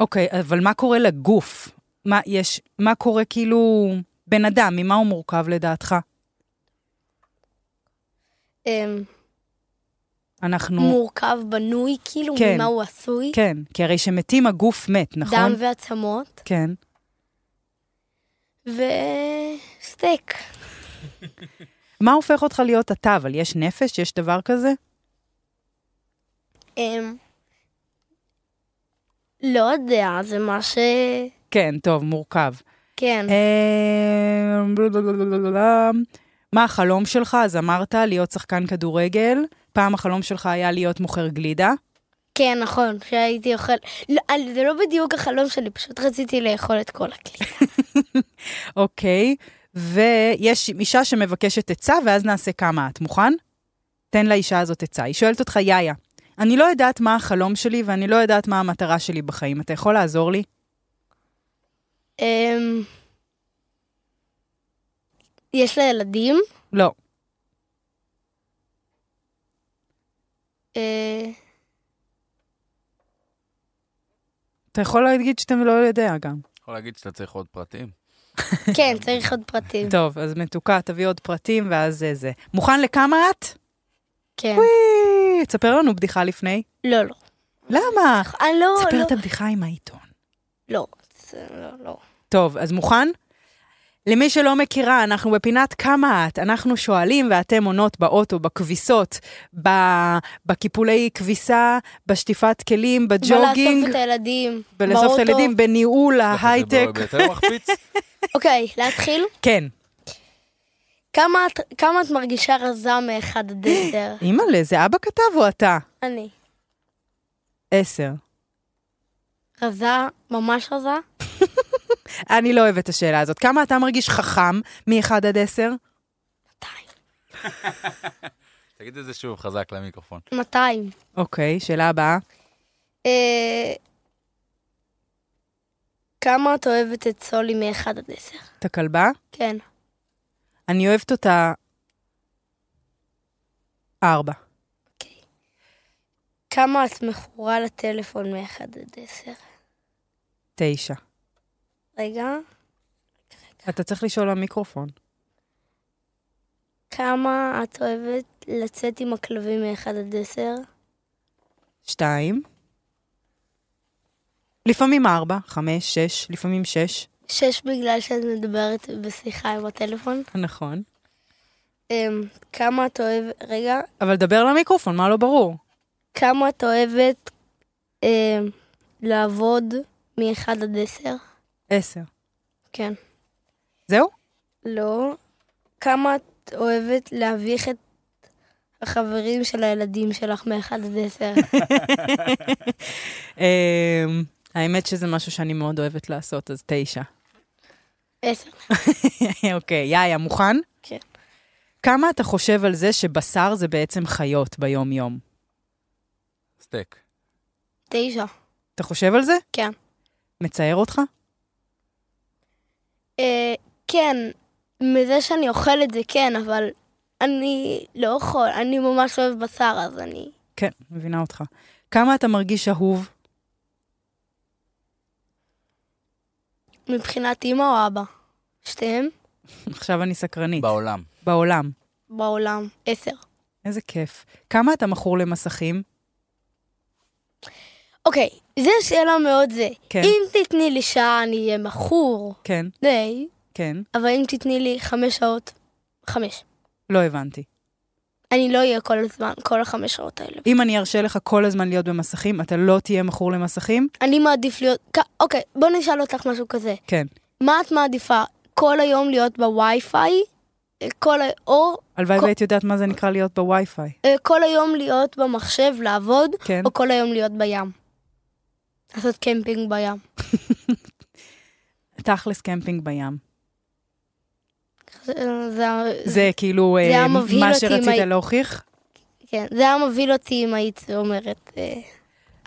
Speaker 2: אוקיי, אבל מה קורה לגוף? מה יש, מה קורה כאילו... בן אדם, ממה הוא מורכב לדעתך?
Speaker 1: אמ,
Speaker 2: אנחנו...
Speaker 1: מורכב, בנוי, כאילו,
Speaker 2: כן.
Speaker 1: ממה הוא עשוי.
Speaker 2: כן, כי הרי שמתים הגוף מת, נכון?
Speaker 1: דם ועצמות,
Speaker 2: כן.
Speaker 1: וסטייק.
Speaker 2: מה הופך אותך להיות אתה? אבל יש נפש? יש דבר כזה?
Speaker 1: אמ, לא יודע, זה מה ש...
Speaker 2: כן, טוב, מורכב.
Speaker 1: כן,
Speaker 2: אה, בלבלבלבלבלם. מה החלום שלך? אז אמרת להיות שחקן כדורגל, פעם החלום שלך היה להיות מוכר גלידה.
Speaker 1: כן, נכון, שהייתי אוכל... לא, אל- זה לא בדיוק החלום שלי, פשוט רציתי לאכול את כל הכלי.
Speaker 2: אוקיי, ויש אישה שמבקשת עצה, ואז נעשה כמה את. מוכן? תן לאישה הזאת עצה. היא שואלת אותך, יאיה, אני לא יודעת מה החלום שלי ואני לא יודעת מה המטרה שלי בחיים. אתה יכול לעזור לי?
Speaker 1: אמ, יש לה ילדים?
Speaker 2: לא.
Speaker 1: אה,
Speaker 2: אתה יכול להגיד שאתה לא יודע גם.
Speaker 3: יכול להגיד שאתה צריך עוד פרטים?
Speaker 1: כן, צריך עוד פרטים.
Speaker 2: טוב, אז מתוקה, תביא עוד פרטים ואז זה זה. מוכן לכמה את?
Speaker 1: כן.
Speaker 2: וואי, תספר לנו בדיחה לפני.
Speaker 1: לא, לא.
Speaker 2: למה?
Speaker 1: אני לא...
Speaker 2: תספר
Speaker 1: לא-
Speaker 2: את הבדיחה עם העיתון.
Speaker 1: לא, זה- לא, לא.
Speaker 2: טוב, אז מוכן? למי שלא מכירה, אנחנו בפינת כמה את. אנחנו שואלים ואתם עונות באוטו, בכביסות, ב- בקיפולי כביסה, בשטיפת כלים,
Speaker 1: בלאסוף
Speaker 2: בג'וגינג,
Speaker 1: את הילדים.
Speaker 2: בלאסוף את
Speaker 1: באוטו.
Speaker 2: הילדים, בניהול ההייטק.
Speaker 3: יותר מחפיץ?
Speaker 1: אוקיי, להתחיל?
Speaker 2: כן.
Speaker 1: כמה את- כמה את מרגישה רזה מאחד עד עשר?
Speaker 2: אימא'לה, זה אבא כתב או אתה?
Speaker 1: אני.
Speaker 2: עשר.
Speaker 1: רזה, ממש רזה.
Speaker 2: אני לא אוהבת את השאלה הזאת. כמה אתה מרגיש חכם מ-1 עד 10?
Speaker 1: 200.
Speaker 3: תגיד את זה שוב, חזק למיקרופון.
Speaker 1: 200.
Speaker 2: אוקיי, שאלה הבאה.
Speaker 1: אה, כמה את אוהבת את סולי מ-1 עד 10?
Speaker 2: את הכלבה?
Speaker 1: כן.
Speaker 2: אני אוהבת אותה... ארבע.
Speaker 1: אוקיי. כמה את מכורה לטלפון מ-1 עד 10?
Speaker 2: תשע.
Speaker 1: רגע.
Speaker 2: אתה צריך לשאול למיקרופון.
Speaker 1: כמה את אוהבת לצאת עם הכלבים מ-1 עד 10?
Speaker 2: שתיים. לפעמים ארבע, חמש, שש, לפעמים שש.
Speaker 1: 6 בגלל שאת מדברת בשיחה עם הטלפון.
Speaker 2: נכון.
Speaker 1: אמ, כמה את אוהבת... רגע.
Speaker 2: אבל דבר למיקרופון, מה לא ברור?
Speaker 1: כמה את אוהבת אמ, לעבוד מ-1 עד 10?
Speaker 2: עשר.
Speaker 1: כן.
Speaker 2: זהו?
Speaker 1: לא. כמה את אוהבת להביך את החברים של הילדים שלך מ-1 עד 10?
Speaker 2: אמ, האמת שזה משהו שאני מאוד אוהבת לעשות, אז תשע.
Speaker 1: 10.
Speaker 2: אוקיי, יאיה, מוכן?
Speaker 1: כן.
Speaker 2: כמה אתה חושב על זה שבשר זה בעצם חיות ביום-יום?
Speaker 3: סטייק.
Speaker 1: 9.
Speaker 2: אתה חושב על זה?
Speaker 1: כן.
Speaker 2: מצער אותך?
Speaker 1: אה, כן, מזה שאני אוכל את זה כן, אבל אני לא יכול, אני ממש אוהב בשר, אז אני...
Speaker 2: כן, מבינה אותך. כמה אתה מרגיש אהוב?
Speaker 1: מבחינת אימא או אבא? שתיהם?
Speaker 2: עכשיו אני סקרנית.
Speaker 3: בעולם.
Speaker 2: בעולם.
Speaker 1: בעולם. 10.
Speaker 2: איזה כיף. כמה אתה מכור למסכים?
Speaker 1: אוקיי, זו שאלה מאוד זה.
Speaker 2: כן.
Speaker 1: אם תתני לי שעה, אני אהיה מכור.
Speaker 2: כן,
Speaker 1: די.
Speaker 2: כן.
Speaker 1: אבל אם תתני לי חמש שעות, חמש.
Speaker 2: לא הבנתי.
Speaker 1: אני לא אהיה כל הזמן, כל החמש שעות האלה.
Speaker 2: אם אני ארשה לך כל הזמן להיות במסכים, אתה לא תהיה מכור למסכים?
Speaker 1: אני מעדיף להיות... כ- אוקיי, בוא נשאל אותך משהו כזה.
Speaker 2: כן.
Speaker 1: מה את מעדיפה? כל היום להיות בווי-פיי? כל ה... או
Speaker 2: הלוואי
Speaker 1: כל-
Speaker 2: והיית יודעת מה זה נקרא להיות בווי-פיי.
Speaker 1: אה, כל היום להיות במחשב, לעבוד,
Speaker 2: כן.
Speaker 1: או כל היום להיות בים. לעשות קמפינג בים. אוקיי.
Speaker 2: תכלס קמפינג בים.
Speaker 1: זה, זה-
Speaker 2: זה כאילו
Speaker 1: זה
Speaker 2: אה,
Speaker 1: היה מבהיל
Speaker 2: מה
Speaker 1: אותי אם
Speaker 2: שרצית
Speaker 1: הי-
Speaker 2: להוכיח?
Speaker 1: כן, זה היה מבהיל אותי אם היית אומרת... אה,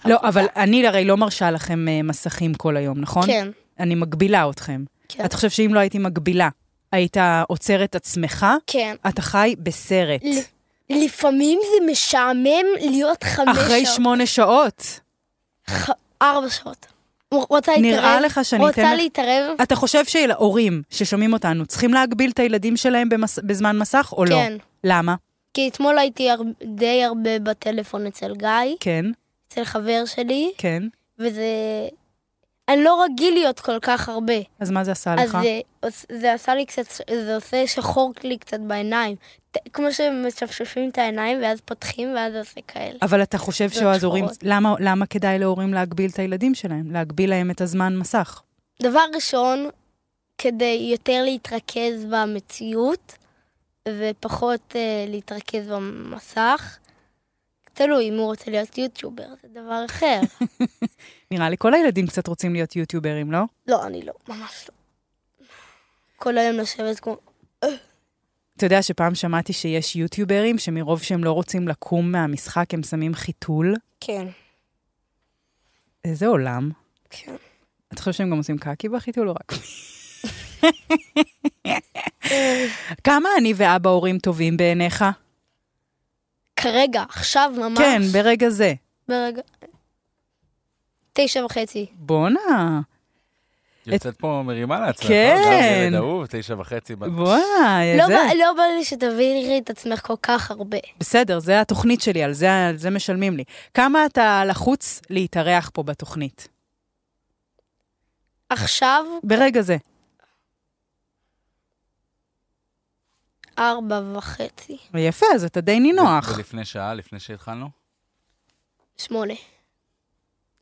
Speaker 2: לא,
Speaker 1: עבודה.
Speaker 2: אבל אני הרי לא מרשה לכם אה, מסכים כל היום, נכון?
Speaker 1: כן,
Speaker 2: אני מגבילה אתכם.
Speaker 1: כן.
Speaker 2: אתה חושב שאם לא הייתי מגבילה, היית עוצר את עצמך?
Speaker 1: כן.
Speaker 2: אתה חי בסרט.
Speaker 1: לפעמים זה משעמם להיות חמש
Speaker 2: אחרי
Speaker 1: שעות.
Speaker 2: שמונה שעות.
Speaker 1: ח... ארבע שעות. הוא רוצה להתערב?
Speaker 2: נראה לך שאני
Speaker 1: רוצה
Speaker 2: אתן לך-
Speaker 1: להתערב?
Speaker 2: אתה חושב שההורים ששומעים אותנו צריכים להגביל את הילדים שלהם במס... בזמן מסך או לא?
Speaker 1: כן.
Speaker 2: למה?
Speaker 1: כי אתמול הייתי הר... די הרבה בטלפון אצל גיא,
Speaker 2: כן,
Speaker 1: אצל חבר שלי,
Speaker 2: כן.
Speaker 1: וזה... אני לא רגיל להיות כל כך הרבה.
Speaker 2: אז מה זה עשה
Speaker 1: אז
Speaker 2: לך?
Speaker 1: זה, עוש- זה עשה לי קצת, זה עושה שחור לי קצת בעיניים. ת- כמו שמשפשפים את העיניים ואז פותחים ואז זה עושה כאלה.
Speaker 2: אבל אתה חושב
Speaker 1: זה
Speaker 2: שההורים...
Speaker 1: שחורות.
Speaker 2: למה, למה כדאי להורים להגביל את הילדים שלהם? להגביל להם את הזמן מסך.
Speaker 1: דבר ראשון, כדי יותר להתרכז במציאות ופחות אה, להתרכז במסך, תלוי אם הוא רוצה להיות יוטיובר, זה דבר אחר.
Speaker 2: נראה לי כל הילדים קצת רוצים להיות יוטיוברים, לא?
Speaker 1: לא, אני לא, ממש לא. כל היום לשבת כמו...
Speaker 2: אתה יודע שפעם שמעתי שיש יוטיוברים שמרוב שהם לא רוצים לקום מהמשחק, הם שמים חיתול?
Speaker 1: כן,
Speaker 2: איזה עולם.
Speaker 1: כן.
Speaker 2: אתה חושב שהם גם עושים קקי בחיתול או רק... כמה אני ואבא הורים טובים בעיניך?
Speaker 1: כרגע, עכשיו ממש.
Speaker 2: כן, ברגע זה.
Speaker 1: ברגע... תשע וחצי.
Speaker 2: בואנה,
Speaker 3: יוצאת פה מרימה לעצמך.
Speaker 2: כן.
Speaker 3: אה, זה ילד אהוב, תשע וחצי. ב-
Speaker 2: וואי,
Speaker 1: לא
Speaker 2: זה.
Speaker 1: בא- לא בא לי שתבהירי את עצמך כל כך הרבה.
Speaker 2: בסדר, זה התוכנית שלי, על זה, על זה משלמים לי. כמה אתה לחוץ להתארח פה בתוכנית?
Speaker 1: עכשיו
Speaker 2: ברגע זה.
Speaker 1: ארבע וחצי.
Speaker 2: יפה, אז אתה די נינוח.
Speaker 3: ולפני שעה, לפני שהתחלנו?
Speaker 1: שמונה.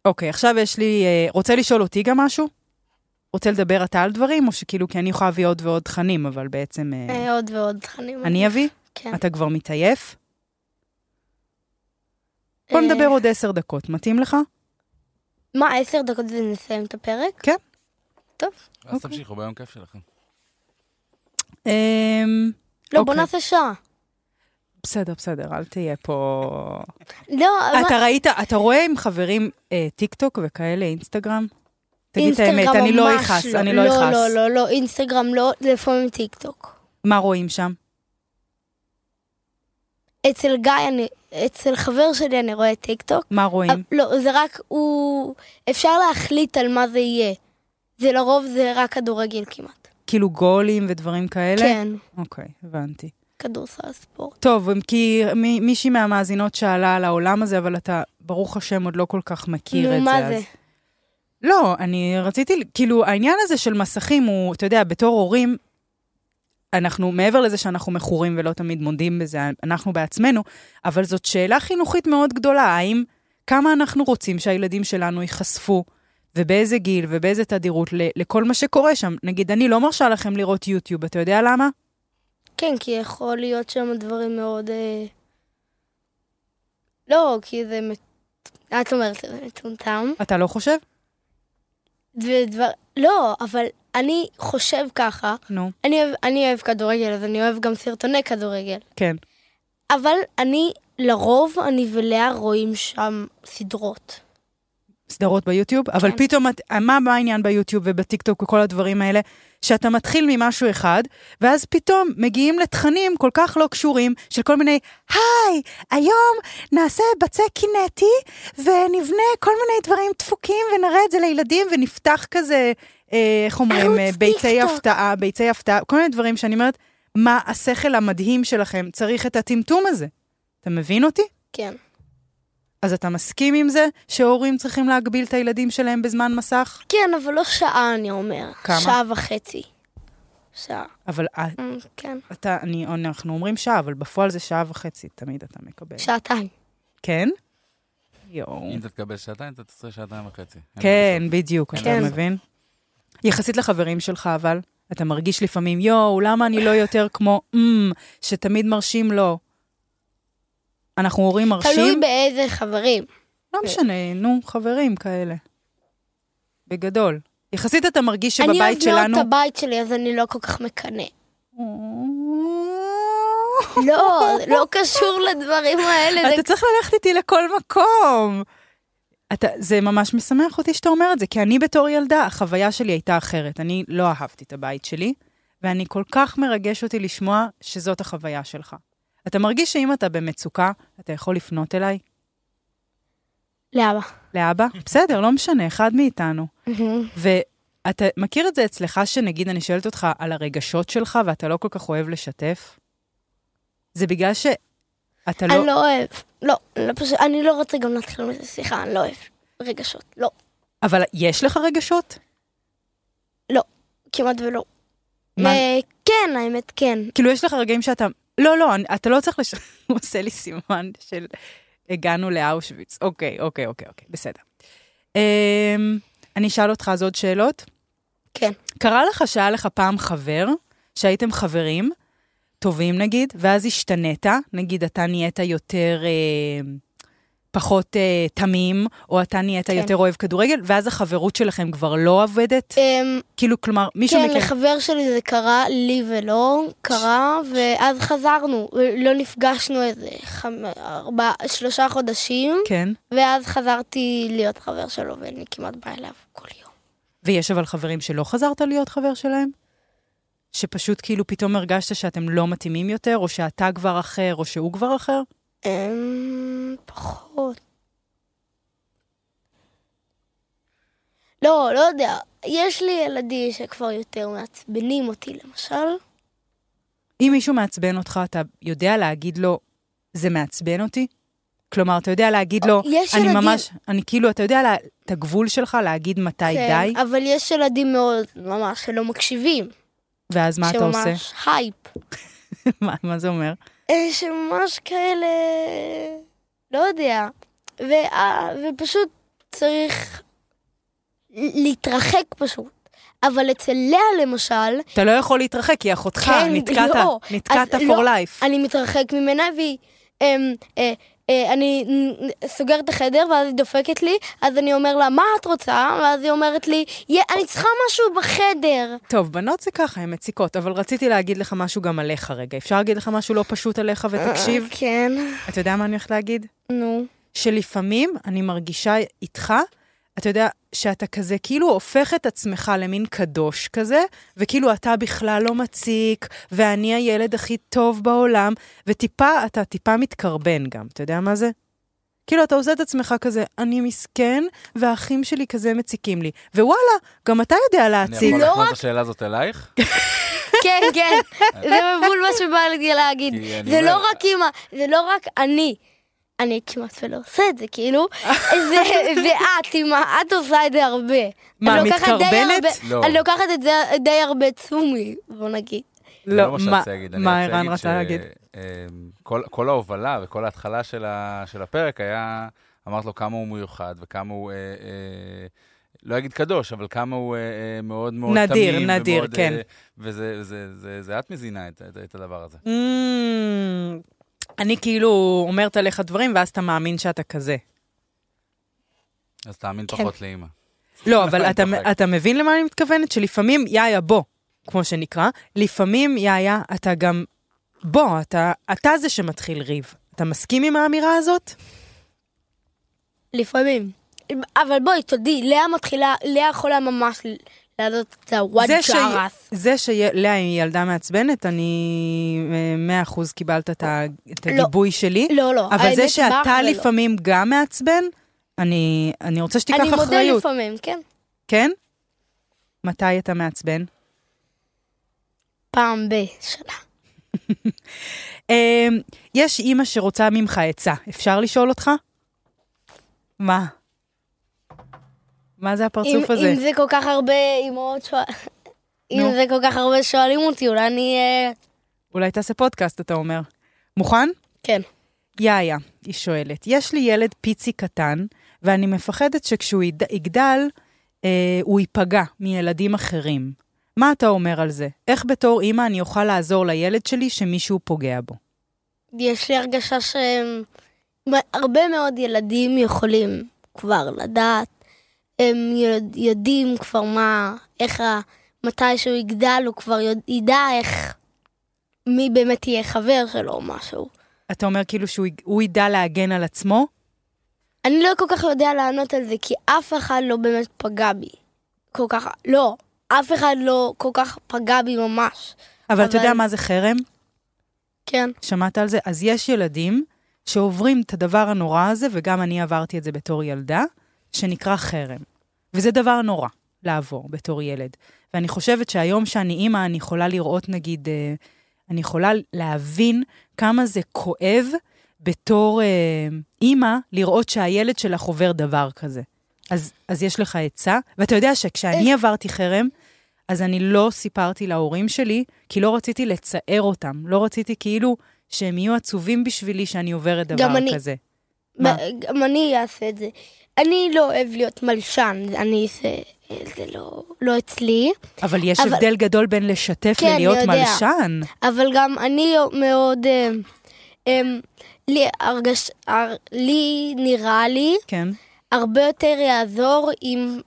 Speaker 2: אוקיי, עכשיו יש לי... אה, רוצה לשאול אותי גם משהו? רוצה לדבר אתה על דברים, או שכאילו, כי אני יכולה להביא עוד ועוד תכנים, אבל בעצם... אה,
Speaker 1: אה, עוד ועוד תכנים.
Speaker 2: אני אביא?
Speaker 1: כן.
Speaker 2: אתה כבר מתעייף? בוא
Speaker 1: אה,
Speaker 2: נדבר עוד עשר דקות, מתאים לך?
Speaker 1: מה, עשר דקות ונסיים את הפרק?
Speaker 2: כן.
Speaker 1: טוב.
Speaker 2: אוקיי.
Speaker 3: אז תמשיכו ביום כיף שלכם.
Speaker 2: אמ,
Speaker 1: לא, בוא
Speaker 2: אוקיי.
Speaker 1: נעשה שעה.
Speaker 2: בסדר, בסדר, אל תהיה פה...
Speaker 1: לא, אבל...
Speaker 2: אתה ראית, אתה רואה עם חברים אה, טיק טוק וכאלה אינסטגרם? תגיד את האמת,
Speaker 1: אינסטגרם
Speaker 2: אני לא
Speaker 1: ממש
Speaker 2: אכעס, אני לא אכעס.
Speaker 1: לא, לא, לא, אינסטגרם לא, לפעמים טיק טוק.
Speaker 2: מה רואים שם?
Speaker 1: אצל גיא, אני, אצל חבר שלי אני רואה טיק טוק.
Speaker 2: מה רואים?
Speaker 1: לא, זה רק, הוא... אפשר להחליט על מה זה יהיה. זה לרוב זה רק כדורגל כמעט.
Speaker 2: כאילו גולים ודברים כאלה?
Speaker 1: כן,
Speaker 2: אוקיי, הבנתי.
Speaker 1: כדורסל ספורט.
Speaker 2: טוב, אם כי מי- מישהי מהמאזינות שאלה על העולם הזה, אבל אתה, ברוך השם, עוד לא כל כך מכיר את
Speaker 1: נו,
Speaker 2: זה.
Speaker 1: מה
Speaker 2: אז-
Speaker 1: זה?
Speaker 2: לא, אני רציתי, כאילו, העניין הזה של מסכים הוא, אתה יודע, בתור הורים, אנחנו, מעבר לזה שאנחנו מכורים ולא תמיד מודים בזה, אנחנו בעצמנו, אבל זאת שאלה חינוכית מאוד גדולה, האם, כמה אנחנו רוצים שהילדים שלנו ייחשפו, ובאיזה גיל ובאיזה תדירות ל- לכל מה שקורה שם. נגיד, אני לא מרשה לכם לראות יוטיוב, אתה יודע למה?
Speaker 1: כן, כי יכול להיות שם דברים מאוד... אה... לא, כי זה... מט- את אומרת שזה מטומטם.
Speaker 2: אתה לא חושב?
Speaker 1: זה דבר... לא, אבל אני חושב ככה.
Speaker 2: נו,
Speaker 1: אני אוהב, אני אוהב כדורגל, אז אני אוהב גם סרטוני כדורגל.
Speaker 2: כן.
Speaker 1: אבל אני, לרוב, אני ולאה רואים שם סדרות.
Speaker 2: סדרות ביוטיוב, אבל
Speaker 1: כן.
Speaker 2: פתאום, את- מה מה העניין ביוטיוב ובטיקטוק וכל הדברים האלה? שאתה מתחיל ממשהו אחד, ואז פתאום מגיעים לתכנים כל כך לא קשורים, של כל מיני, היי, היום נעשה בצק קינטי, ונבנה כל מיני דברים דפוקים, ונראה את זה לילדים, ונפתח כזה, אה, איך אומרים,
Speaker 1: ערוץ
Speaker 2: אה, ביצי
Speaker 1: טיקטוק.
Speaker 2: הפתעה, ביצי הפתעה, כל מיני דברים שאני אומרת, מה השכל המדהים שלכם צריך את הטמטום הזה? אתה מבין אותי?
Speaker 1: כן.
Speaker 2: אז אתה מסכים עם זה שהורים צריכים להגביל את הילדים שלהם בזמן מסך?
Speaker 1: כן, אבל לא שעה, אני אומר.
Speaker 2: כמה?
Speaker 1: שעה וחצי. שעה.
Speaker 2: אבל אה,
Speaker 1: אמ, כן.
Speaker 2: אתה, אני, אנחנו אומרים שעה, אבל בפועל זה שעה וחצי, תמיד אתה מקבל.
Speaker 1: שעתיים.
Speaker 2: כן? יואו.
Speaker 3: אם אתה תקבל שעתיים, אתה תעשה שעתיים וחצי. אין
Speaker 2: כן, בדיוק, אתה
Speaker 1: כן.
Speaker 2: מבין? יחסית לחברים שלך, אבל, אתה מרגיש לפעמים, יואו, למה אני לא יותר כמו אמ, שתמיד מרשים לו? אנחנו הורים
Speaker 1: תלוי
Speaker 2: מרשים?
Speaker 1: באיזה חברים.
Speaker 2: לא משנה, נו, חברים כאלה. בגדול. יחסית אתה מרגיש
Speaker 1: אני אוהב
Speaker 2: שבבית שלנו...
Speaker 1: מאוד את הבית שלי, אז אני לא כל כך מקנא. לא,
Speaker 2: לא,
Speaker 1: זה לא קשור לדברים האלה. זה
Speaker 2: אתה צריך ללכת איתי לכל מקום. אתה, זה ממש משמח אותי שאתה אומר את זה, כי אני בתור ילדה, החוויה שלי הייתה אחרת. אני לא אהבתי את הבית שלי, ואני כל כך מרגש אותי לשמוע שזאת החוויה שלך. אתה מרגיש שאם אתה במצוקה, אתה יכול לפנות אליי,
Speaker 1: למה?
Speaker 2: לאבא? בסדר, לא משנה, אחד מאיתנו. ואתה מכיר את זה אצלך, שנגיד אני שואלת אותך על הרגשות שלך, ואתה לא כל כך אוהב לשתף? זה בגלל שאתה לא...
Speaker 1: אני לא אוהב. לא, לא, פשוט- אני לא רוצה גם להתחיל מזה שיחה, אני לא אוהב רגשות. לא,
Speaker 2: אבל יש לך רגשות?
Speaker 1: כמעט ולא.
Speaker 2: מה-
Speaker 1: אה, כן, האמת, כן.
Speaker 2: כאילו, יש לך רגעים שאתה... לא, לא, אני- אתה לא צריך לש... הוא עושה לי סימן של הגענו לאושוויץ. אוקיי, אוקיי, אוקיי, אוקיי, בסדר. אמ, אני אשאל אותך אז עוד שאלות.
Speaker 1: כן.
Speaker 2: קרה לך שהיה לך פעם חבר, שהייתם חברים, טובים נגיד, ואז השתנית, נגיד אתה נהיית יותר... אמ, פחות אה, תמים, או אתה נהיית
Speaker 1: כן.
Speaker 2: יותר אוהב כדורגל, ואז החברות שלכם כבר לא עובדת?
Speaker 1: אמ,
Speaker 2: כאילו, כלומר, מישהו
Speaker 1: כן,
Speaker 2: מכם...
Speaker 1: לחבר שלי זה קרה, לי ולא קרה, ואז חזרנו, לא נפגשנו איזה חמ... ארבע... שלושה חודשים,
Speaker 2: כן.
Speaker 1: ואז חזרתי להיות חבר שלו, ואני כמעט באה אליו כל יום.
Speaker 2: ויש אבל חברים שלא חזרת להיות חבר שלהם? שפשוט כאילו פתאום הרגשת שאתם לא מתאימים יותר, או שאתה כבר אחר, או שהוא כבר אחר?
Speaker 1: אמ... פחות. לא, לא יודע. יש לי ילדים שכבר יותר מעצבנים אותי, למשל.
Speaker 2: אם מישהו מעצבן אותך, אתה יודע להגיד לו, זה מעצבן אותי? כלומר, אתה יודע להגיד לו,
Speaker 1: יש
Speaker 2: לא, אני
Speaker 1: ילדים-
Speaker 2: ממש, אני כאילו, אתה יודע לה- את הגבול שלך להגיד מתי
Speaker 1: כן,
Speaker 2: די,
Speaker 1: אבל יש ילדים מאוד ממש שלא מקשיבים.
Speaker 2: ואז מה אתה עושה?
Speaker 1: שממש הייפ.
Speaker 2: מה- מה זה אומר?
Speaker 1: אה, שממש כאלה... לא יודע. וה- ופשוט צריך להתרחק פשוט. אבל אצל לאה למשל,
Speaker 2: אתה לא יכול להתרחק, כי אחותך,
Speaker 1: כן,
Speaker 2: נתקעת,
Speaker 1: לא.
Speaker 2: נתקעת
Speaker 1: אז
Speaker 2: for
Speaker 1: לא,
Speaker 2: life.
Speaker 1: אני מתרחק ממנה והיא... אמ, אה, אה, אני נ- נ- סוגרת את החדר ואז היא דופקת לי, אז אני אומר לה, מה את רוצה? ואז היא אומרת לי, "יה, אני צריכה משהו בחדר.
Speaker 2: טוב, בנות זה ככה, הן מציקות, אבל רציתי להגיד לך משהו גם עליך רגע. אפשר להגיד לך משהו לא פשוט עליך ותקשיב?
Speaker 1: כן,
Speaker 2: אתה יודע מה אני הולכת להגיד?
Speaker 1: נו.
Speaker 2: שלפעמים אני מרגישה איתך, אתה יודע, שאתה כזה כאילו הופך את עצמך למין קדוש כזה, וכאילו אתה בכלל לא מציק, ואני הילד הכי טוב בעולם, וטיפה, אתה טיפה מתקרבן גם, אתה יודע מה זה? כאילו, אתה עושה את עצמך כזה, אני מסכן, והאחים שלי כזה מציקים לי. ווואלה, גם אתה יודע
Speaker 3: אני
Speaker 2: להציק.
Speaker 3: יכול
Speaker 1: לא
Speaker 3: להפנות
Speaker 1: רק-
Speaker 3: את השאלה הזאת אלייך?
Speaker 1: כן, כן, זה מבול מה שבא לי להגיד.
Speaker 3: כי אני
Speaker 1: זה
Speaker 3: אומר-
Speaker 1: לא רק אימא, זה לא רק אני. אני כמעט ולא עושה את זה, כאילו. זה זה את, אימא, את עושה את זה הרבה.
Speaker 2: מה,
Speaker 1: אני לוקחת די
Speaker 2: מתקרבנת?
Speaker 1: הרבה-
Speaker 3: לא.
Speaker 1: אני לוקחת את זה די הרבה תשומי, בוא נגיד.
Speaker 3: זה
Speaker 2: לא,
Speaker 3: מה
Speaker 2: מה-
Speaker 3: שרציתי להגיד. אני
Speaker 2: מה
Speaker 3: רציתי
Speaker 2: ערן רצה
Speaker 3: ש-
Speaker 2: להגיד?
Speaker 3: אמ, כל- כל ההובלה וכל ההתחלה של ה- של הפרק היה, אמרת לו כמה הוא מיוחד וכמה הוא, אה, אה, לא אגיד קדוש, אבל כמה הוא אה, אה, מאוד מאוד תמים.
Speaker 2: נדיר, נדיר,
Speaker 3: ומאוד,
Speaker 2: כן.
Speaker 3: אה, וזה זה- זה- זה את מזינה את- את את הדבר הזה.
Speaker 2: אמ, אני כאילו אומרת עליך דברים, ואז אתה מאמין שאתה כזה.
Speaker 3: אז תאמין
Speaker 1: כן.
Speaker 3: פחות לאימא.
Speaker 2: לא, אבל אתה,
Speaker 3: אני צוחק.
Speaker 2: אתה מבין למה אני מתכוונת? שלפעמים, יאיה, בוא, כמו שנקרא, לפעמים, יאיה, אתה גם... בוא, אתה, אתה זה שמתחיל ריב. אתה מסכים עם האמירה הזאת?
Speaker 1: לפעמים. אבל בואי, תודי, לאה מתחילה, לאה יכולה ממש לעשות את הוואד
Speaker 2: זה, ש...
Speaker 1: ג'רס.
Speaker 2: זה שלאה היא ילדה מעצבנת, אני אה, מאה אחוז קיבלת את, ה... את
Speaker 1: לא.
Speaker 2: הגיבוי שלי.
Speaker 1: לא, לא.
Speaker 2: אבל
Speaker 1: האמת,
Speaker 2: זה
Speaker 1: ברח
Speaker 2: שאתה
Speaker 1: ולא.
Speaker 2: לפעמים גם מעצבן, אני, אני רוצה שתיקח אחריות.
Speaker 1: אני מודה לפעמים, כן.
Speaker 2: כן? מתי אתה מעצבן?
Speaker 1: פעם בשנה.
Speaker 2: אה, יש אימא שרוצה ממך עצה, אפשר לשאול אותך? מה? מה זה הפרצוף
Speaker 1: אם,
Speaker 2: הזה?
Speaker 1: אם זה כל כך הרבה אמהות שואל... אם
Speaker 2: נו.
Speaker 1: זה כל כך הרבה שואלים אותי, אולי אני... אה,
Speaker 2: אולי תעשה פודקאסט, אתה אומר. מוכן?
Speaker 1: כן.
Speaker 2: יאיה, היא שואלת, יש לי ילד פיצי קטן, ואני מפחדת שכשהוא יד- יגדל, אה, הוא ייפגע מילדים אחרים. מה אתה אומר על זה? איך בתור אימא אני אוכל לעזור לילד שלי שמישהו פוגע בו?
Speaker 1: יש לי הרגשה שהם... הרבה מאוד ילדים יכולים כבר לדעת. הם יודע- יודעים כבר מה... איך ה... מתי שהוא יגדל, הוא כבר יודע, ידע איך... מי באמת יהיה חבר שלו או משהו.
Speaker 2: אתה אומר כאילו שהוא י- הוא ידע להגן על עצמו?
Speaker 1: אני לא כל כך יודע לענות על זה, כי אף אחד לא באמת פגע בי. כל כך... לא. אף אחד לא כל כך פגע בי ממש.
Speaker 2: אבל אתה יודע
Speaker 1: אבל-
Speaker 2: מה זה חרם?
Speaker 1: כן.
Speaker 2: שמעת על זה? אז יש ילדים שעוברים את הדבר הנורא הזה, וגם אני עברתי את זה בתור ילדה, שנקרא חרם. וזה דבר נורא לעבור בתור ילד. ואני חושבת שהיום שאני אימא, אני יכולה לראות, נגיד, אה, אני יכולה להבין כמה זה כואב בתור אה, אימא לראות שהילד שלך עובר דבר כזה. אז, אז יש לך עצה, ואתה יודע
Speaker 1: אה.
Speaker 2: שכשאני עברתי חרם, אז אני לא סיפרתי להורים שלי, כי לא רציתי לצער אותם. לא רציתי כאילו שהם יהיו עצובים בשבילי שאני עוברת דבר
Speaker 1: גם אני.
Speaker 2: כזה. מה?
Speaker 1: ב- גם אני אעשה את זה. אני לא אוהב להיות מלשן, אני זה, זה לא, לא אצלי,
Speaker 2: אבל יש
Speaker 1: אבל-
Speaker 2: הבדל גדול בין לשתף
Speaker 1: כן,
Speaker 2: ללהיות
Speaker 1: יודע.
Speaker 2: מלשן.
Speaker 1: אבל גם אני מאוד, אה, אה, לי, הרגש, הר, לי נראה לי
Speaker 2: כן,
Speaker 1: הרבה יותר יעזור אם,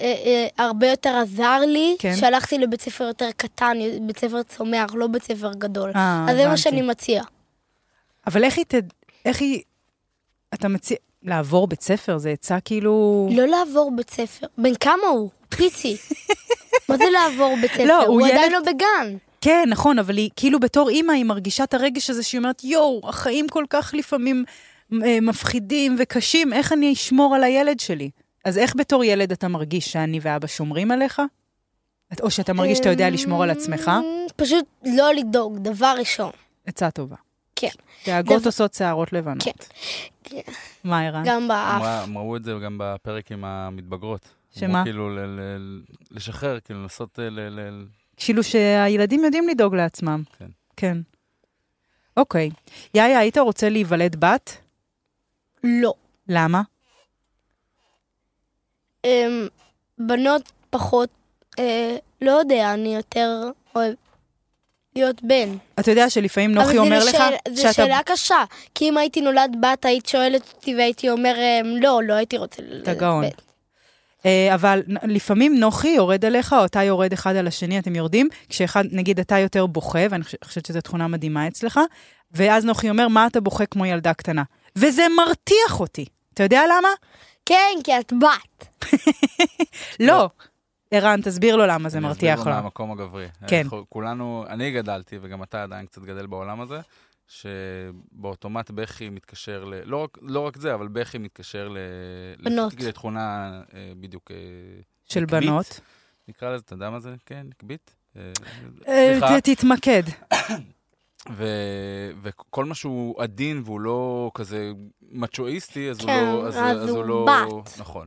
Speaker 1: אה, אה, הרבה יותר עזר לי,
Speaker 2: כן.
Speaker 1: שהלכתי לבית ספר יותר קטן, בית ספר צומח, לא בית ספר גדול.
Speaker 2: אה,
Speaker 1: אז זה מה
Speaker 2: הבנתי.
Speaker 1: שאני מציע.
Speaker 2: אבל איך היא ת... איך היא... אתה מציע... לעבור בית ספר זה עצה כאילו...
Speaker 1: לא לעבור בית ספר. בן כמה הוא? פיצי. מה זה לעבור בית ספר?
Speaker 2: לא, הוא
Speaker 1: הוא עדיין לא
Speaker 2: ילד-
Speaker 1: בגן.
Speaker 2: כן, נכון, אבל היא כאילו בתור אימא, היא מרגישה את הרגש הזה שהיא אומרת, יואו, החיים כל כך לפעמים אה, מפחידים וקשים, איך אני אשמור על הילד שלי? אז איך בתור ילד אתה מרגיש שאני ואבא שומרים עליך? את- או שאתה מרגיש שאתה יודע לשמור על עצמך?
Speaker 1: אמ, פשוט לא לדאוג, דבר ראשון.
Speaker 2: עצה טובה.
Speaker 1: כן.
Speaker 2: דאגות
Speaker 1: דבר-
Speaker 2: עושות שערות לבנות.
Speaker 1: כן.
Speaker 2: מה, ערן?
Speaker 1: גם באף.
Speaker 3: אמרה- אמרו את זה גם בפרק עם המתבגרות.
Speaker 2: שמה?
Speaker 3: אמרו כאילו ל- ל- ל- לשחרר, כאילו לנסות אה, ל... ל- ל-
Speaker 2: כאילו שהילדים יודעים לדאוג לעצמם.
Speaker 3: כן.
Speaker 2: כן. אוקיי. יאיה, היית רוצה להיוולד בת?
Speaker 1: לא.
Speaker 2: למה?
Speaker 1: אמ, בנות פחות, אה, לא יודע, אני יותר אוהב להיות בן.
Speaker 2: אתה יודע שלפעמים נוחי
Speaker 1: אבל זה
Speaker 2: אומר לך
Speaker 1: לשאל-
Speaker 2: שאתה...
Speaker 1: זו שאלה קשה, כי אם הייתי נולד בת, היית שואלת אותי והייתי אומר, אמ, לא, לא הייתי רוצה ללדת
Speaker 2: אתה גאון.
Speaker 1: בן.
Speaker 2: אה, אבל נ- לפעמים נוחי יורד עליך, או אתה יורד אחד על השני, אתם יורדים, כשאחד, נגיד, אתה יותר בוכה, ואני חוש- חושבת שזו תכונה מדהימה אצלך, ואז נוחי אומר, מה אתה בוכה כמו ילדה קטנה? וזה מרתיח אותי. אתה יודע למה?
Speaker 1: כן, כי את בת.
Speaker 2: לא. ערן, תסביר לו למה זה
Speaker 3: אני
Speaker 2: מרתיח
Speaker 3: אסביר לו
Speaker 2: לו.
Speaker 3: מהמקום הגברי.
Speaker 2: כן.
Speaker 3: אנחנו- כולנו, אני גדלתי, וגם אתה עדיין קצת גדל בעולם הזה, שבאוטומט בכי מתקשר ל... לא רק, לא רק זה, אבל בכי מתקשר ל...
Speaker 1: בנות.
Speaker 3: לת- לתכונה אה, בדיוק, אה,
Speaker 2: של
Speaker 3: נקבית?
Speaker 2: בנות.
Speaker 3: נקרא לזה, אתה יודע מה זה? כן, נקבית. אה,
Speaker 2: אה,
Speaker 3: סליחה.
Speaker 2: ת- תתמקד.
Speaker 3: ו... וכל מה שהוא עדין והוא לא כזה מצ'ואיסטי, אז
Speaker 1: כן,
Speaker 3: הוא לא...
Speaker 1: אז הוא
Speaker 3: לא...
Speaker 1: בת.
Speaker 3: נכון.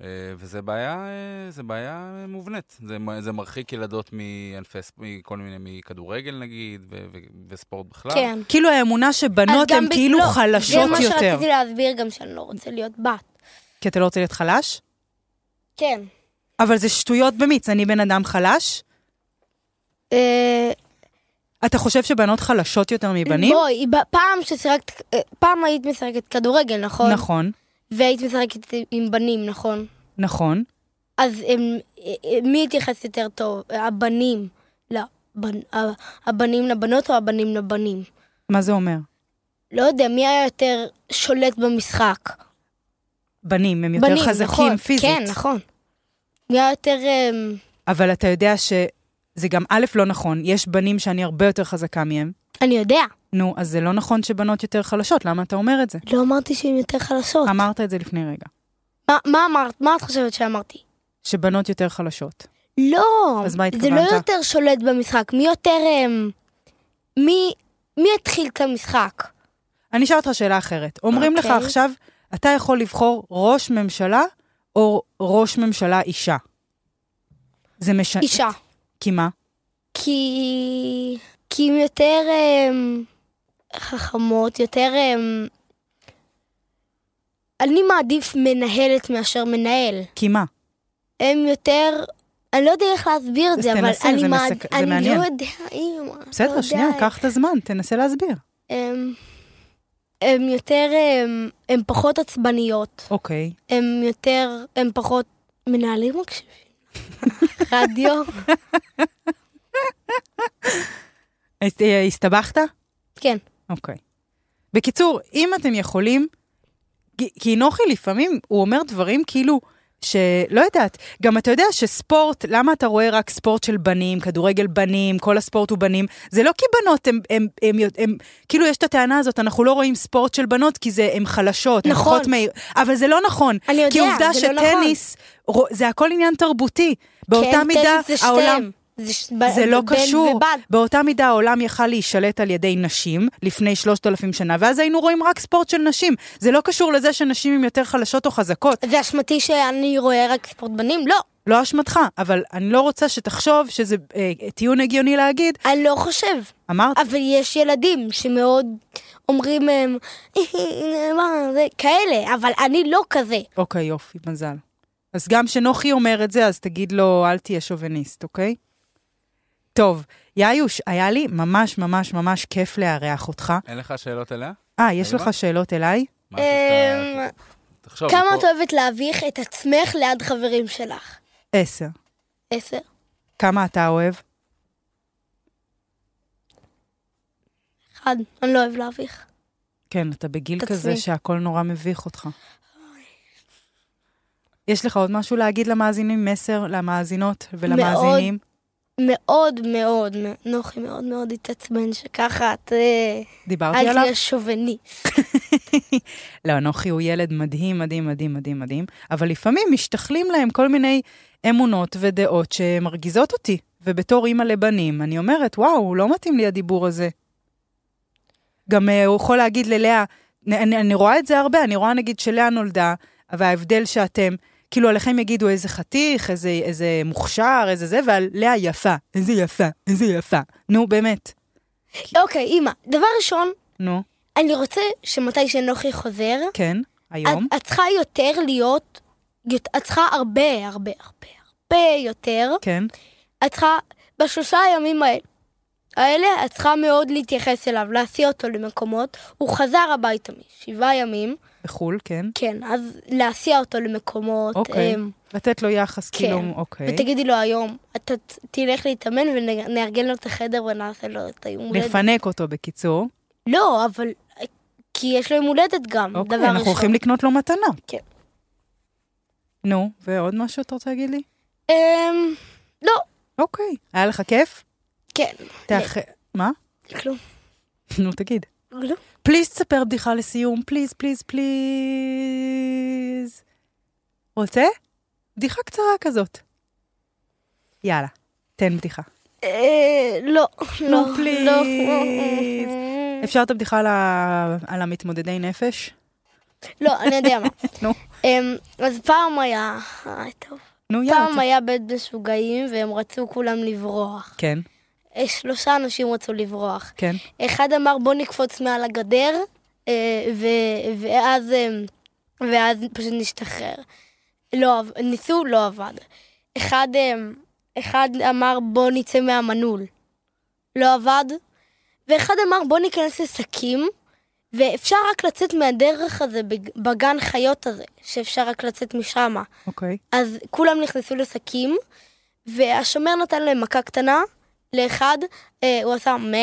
Speaker 3: אה, וזה בעיה, אה, זה בעיה מובנית. זה, מ- זה מרחיק ילדות מענפי, ספ- מכל מיני, מכדורגל נגיד, ו, ו, וספורט בכלל.
Speaker 1: כן.
Speaker 2: כאילו האמונה שבנות
Speaker 1: אז גם
Speaker 2: הן
Speaker 1: ב-
Speaker 2: כאילו
Speaker 1: לא,
Speaker 2: חלשות
Speaker 1: זה מה
Speaker 2: יותר.
Speaker 1: שרציתי להסביר גם שאני לא רוצה להיות בת.
Speaker 2: כי אתה לא רוצה להיות חלש?
Speaker 1: כן.
Speaker 2: אבל זה שטויות במיץ, אני בן אדם חלש?
Speaker 1: אה,
Speaker 2: אתה חושב שבנות חלשות יותר מבנים?
Speaker 1: בואי, ב- פעם ששיחקת, אה, פעם היית משחקת כדורגל, נכון?
Speaker 2: נכון,
Speaker 1: והיית משחקת עם בנים, נכון?
Speaker 2: נכון.
Speaker 1: אז הם, אה, מי התייחס יותר טוב? הבנים. לבנ, ה- הבנים לבנות או הבנים לבנים?
Speaker 2: מה זה אומר?
Speaker 1: לא יודע, מי היה יותר שולט במשחק?
Speaker 2: בנים, הם יותר
Speaker 1: בנים,
Speaker 2: חזקים
Speaker 1: נכון.
Speaker 2: פיזית.
Speaker 1: כן, נכון. מי היה יותר... אמ,
Speaker 2: אבל אתה יודע שזה גם א', לא נכון, יש בנים שאני הרבה יותר חזקה מהם.
Speaker 1: אני יודע.
Speaker 2: נו, אז זה לא נכון שבנות יותר חלשות, למה אתה אומר את זה?
Speaker 1: לא אמרתי שהן יותר חלשות.
Speaker 2: אמרת את זה לפני רגע,
Speaker 1: מה- מה אמרת? מה את חושבת שאמרתי?
Speaker 2: שבנות יותר חלשות.
Speaker 1: לא.
Speaker 2: אז מה
Speaker 1: זה
Speaker 2: התכוונת?
Speaker 1: לא יותר שולט במשחק. מי יותר... אמ, מי... מי התחיל את המשחק?
Speaker 2: אני אשאל אותך שאלה אחרת. אומרים לך
Speaker 1: אוקיי.
Speaker 2: עכשיו, אתה יכול לבחור ראש ממשלה או ראש ממשלה אישה. זה משנה...
Speaker 1: אישה.
Speaker 2: כי מה?
Speaker 1: כי... כי הם יותר הם... חכמות, יותר הם... אני מעדיף מנהלת מאשר מנהל.
Speaker 2: כי מה?
Speaker 1: הם יותר... אני לא יודע איך להסביר את
Speaker 2: אז
Speaker 1: זה, אבל
Speaker 2: תנסה,
Speaker 1: אני
Speaker 2: זה
Speaker 1: מעד-
Speaker 2: מסק- זה
Speaker 1: אני
Speaker 2: מעניין.
Speaker 1: לא יודע, אימא. לא
Speaker 2: בסדר,
Speaker 1: יודע.
Speaker 2: שנייה, קח את הזמן, תנסה להסביר.
Speaker 1: הם, הם יותר... הם, הם פחות עצבניות.
Speaker 2: אוקיי.
Speaker 1: הם יותר... הם פחות... מנהלים מקשיבים. רדיו.
Speaker 2: הס- אה, הסתבכת?
Speaker 1: כן.
Speaker 2: אוקיי. בקיצור, אם אתם יכולים, כי- כי נוחי לפעמים, הוא אומר דברים כאילו, שלא יודעת, גם אתה יודע שספורט, למה אתה רואה רק ספורט של בנים, כדורגל בנים, כל הספורט הוא בנים, זה לא כי בנות הם, הם, הם, הם, הם כאילו יש את הטענה הזאת, אנחנו לא רואים ספורט של בנות כי זה, הן חלשות, הן
Speaker 1: נכון.
Speaker 2: פחות מהיר, אבל זה לא נכון.
Speaker 1: אני יודע,
Speaker 2: כי עובדה
Speaker 1: זה לא
Speaker 2: שטניס, לא נכון. זה הכל עניין תרבותי. באותה
Speaker 1: כן,
Speaker 2: מידה,
Speaker 1: טניס זה
Speaker 2: העולם...
Speaker 1: שתיהם. זה, ש...
Speaker 2: זה לא
Speaker 1: בן
Speaker 2: קשור.
Speaker 1: ובת.
Speaker 2: באותה מידה העולם יכל להישלט על ידי נשים לפני 3,000 שנה, ואז היינו רואים רק ספורט של נשים. זה לא קשור לזה שנשים הן יותר חלשות או חזקות.
Speaker 1: זה אשמתי שאני רואה רק ספורט בנים? לא,
Speaker 2: לא אשמתך, אבל אני לא רוצה שתחשוב שזה אה, טיעון הגיוני להגיד.
Speaker 1: אני לא חושב.
Speaker 2: אמרת,
Speaker 1: אבל יש ילדים שמאוד אומרים, הם, מה זה, כאלה, אבל אני לא כזה.
Speaker 2: אוקיי, יופי, מזל. אז גם כשנוחי אומר את זה, אז תגיד לו, אל תהיה שוביניסט, אוקיי? טוב, יאיוש, היה לי ממש ממש ממש כיף לארח אותך.
Speaker 3: אין לך שאלות אליה?
Speaker 2: אה, יש
Speaker 3: נעימה?
Speaker 2: לך שאלות אליי?
Speaker 3: משהו שאתה-
Speaker 1: אמ,
Speaker 3: תחשוב,
Speaker 1: כמה
Speaker 3: מפה-
Speaker 1: את אוהבת להביך את עצמך ליד חברים שלך?
Speaker 2: עשר.
Speaker 1: עשר.
Speaker 2: כמה אתה אוהב?
Speaker 1: אחד, אני לא אוהב להביך.
Speaker 2: כן, אתה בגיל
Speaker 1: את
Speaker 2: כזה
Speaker 1: עצמי.
Speaker 2: שהכל נורא מביך אותך. יש לך עוד משהו להגיד למאזינים? מסר למאזינות ולמאזינים?
Speaker 1: מאוד מאוד, מאוד- נוחי מאוד מאוד התעצבן שככה את... אה,
Speaker 2: דיברתי
Speaker 1: אל
Speaker 2: עליו?
Speaker 1: תהיה שוביני.
Speaker 2: לא, נוחי הוא ילד מדהים, מדהים, מדהים, מדהים, מדהים, אבל לפעמים משתכלים להם כל מיני אמונות ודעות שמרגיזות אותי. ובתור אימא לבנים, אני אומרת, וואו, לא מתאים לי הדיבור הזה. גם אה, הוא יכול להגיד ללאה, נ- אני, אני רואה את זה הרבה, אני רואה נגיד שלאה נולדה, אבל ההבדל שאתם, כאילו עליכם יגידו איזה חתיך, איזה, איזה מוכשר, איזה זה, ועל לאה יפה, איזה יפה, איזה יפה. נו, באמת.
Speaker 1: אוקיי, אימא, דבר ראשון,
Speaker 2: נו,
Speaker 1: אני רוצה שמתי שנוחי חוזר,
Speaker 2: כן, היום.
Speaker 1: את, את צריכה יותר להיות, יות- את צריכה הרבה, הרבה, הרבה, הרבה יותר.
Speaker 2: כן,
Speaker 1: את צריכה, בשלושה הימים האלה, האלה, את צריכה מאוד להתייחס אליו, להסיע אותו למקומות. הוא חזר הביתה משבעה ימים,
Speaker 2: בחו"ל, כן.
Speaker 1: כן, אז להסיע אותו למקומות.
Speaker 2: אוקיי.
Speaker 1: אמ,
Speaker 2: לתת לו יחס,
Speaker 1: כן.
Speaker 2: כאילו, אוקיי.
Speaker 1: ותגידי לו היום, אתה ת- תלך להתאמן ונארגן לו את החדר ונעשה לו את היום הולדת.
Speaker 2: לפנק אותו, בקיצור.
Speaker 1: לא, אבל... כי יש לו יום הולדת גם, דבר
Speaker 2: אוקיי, אנחנו
Speaker 1: ראשון.
Speaker 2: הולכים לקנות לו מתנה.
Speaker 1: כן.
Speaker 2: נו, ועוד משהו אתה רוצה להגיד לי?
Speaker 1: אמ, לא,
Speaker 2: אוקיי. היה לך כיף?
Speaker 1: כן,
Speaker 2: תאח... מה?
Speaker 1: כלום.
Speaker 2: נו, תגיד.
Speaker 1: לא.
Speaker 2: פליז תספר בדיחה לסיום, פליז, פליז, פליז. רוצה? בדיחה קצרה כזאת. יאללה, תן בדיחה.
Speaker 1: אה, לא, לא,
Speaker 2: נו, פליז.
Speaker 1: לא. אה.
Speaker 2: אפשר את הבדיחה על, ה... על המתמודדי נפש?
Speaker 1: לא, אני יודע מה.
Speaker 2: נו.
Speaker 1: אמ, אז פעם היה, אה, טוב,
Speaker 2: נו, יאללה.
Speaker 1: פעם
Speaker 2: ת-
Speaker 1: היה בית משוגעים והם רצו כולם לברוח.
Speaker 2: כן,
Speaker 1: אה, שלושה אנשים רצו לברוח.
Speaker 2: כן.
Speaker 1: אחד אמר בוא נקפוץ מעל הגדר, אה, ו- ואז, אה, ואז פשוט נשתחרר. לא, עב- ניסו, לא עבד. אחד, אה, אחד אמר בוא נצא מהמנעול. לא עבד. ואחד אמר בוא ניכנס לשקים, ואפשר רק לצאת מהדרך הזה, בג- בגן חיות הזה, שאפשר רק לצאת משם.
Speaker 2: אוקיי.
Speaker 1: אז כולם נכנסו לשקים, והשומר נתן להם מכה קטנה לאחד, אה, הוא עשה מה,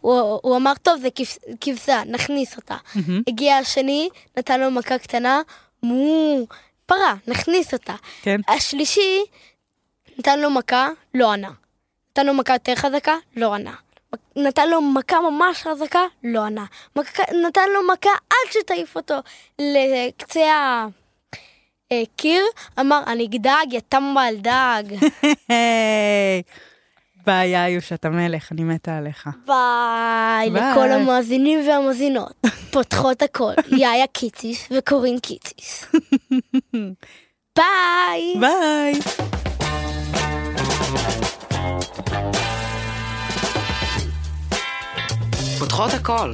Speaker 1: הוא, הוא אמר, טוב, זה כבש- כבשה, נכניס אותה.
Speaker 2: מהמם,
Speaker 1: הגיע השני, נתן לו מכה קטנה, מו, פרה, נכניס אותה.
Speaker 2: כן.
Speaker 1: השלישי, נתן לו מכה, לא ענה. נתן לו מכה יותר חזקה, לא ענה. נתן לו מכה ממש חזקה, לא ענה. מכה, נתן לו מכה עד שתעיף אותו לקצה ה- אה, קיר, אמר, אני דג, יא טמבל דג.
Speaker 2: היי, ביי, איוש, אתה מלך, אני מתה עליך.
Speaker 1: ביי
Speaker 2: ביי.
Speaker 1: לכל המאזינים והמאזינות. פותחות הכל, יאיה קיציס וקורין קיציס. ביי!
Speaker 2: ביי.
Speaker 5: פותחות הכל.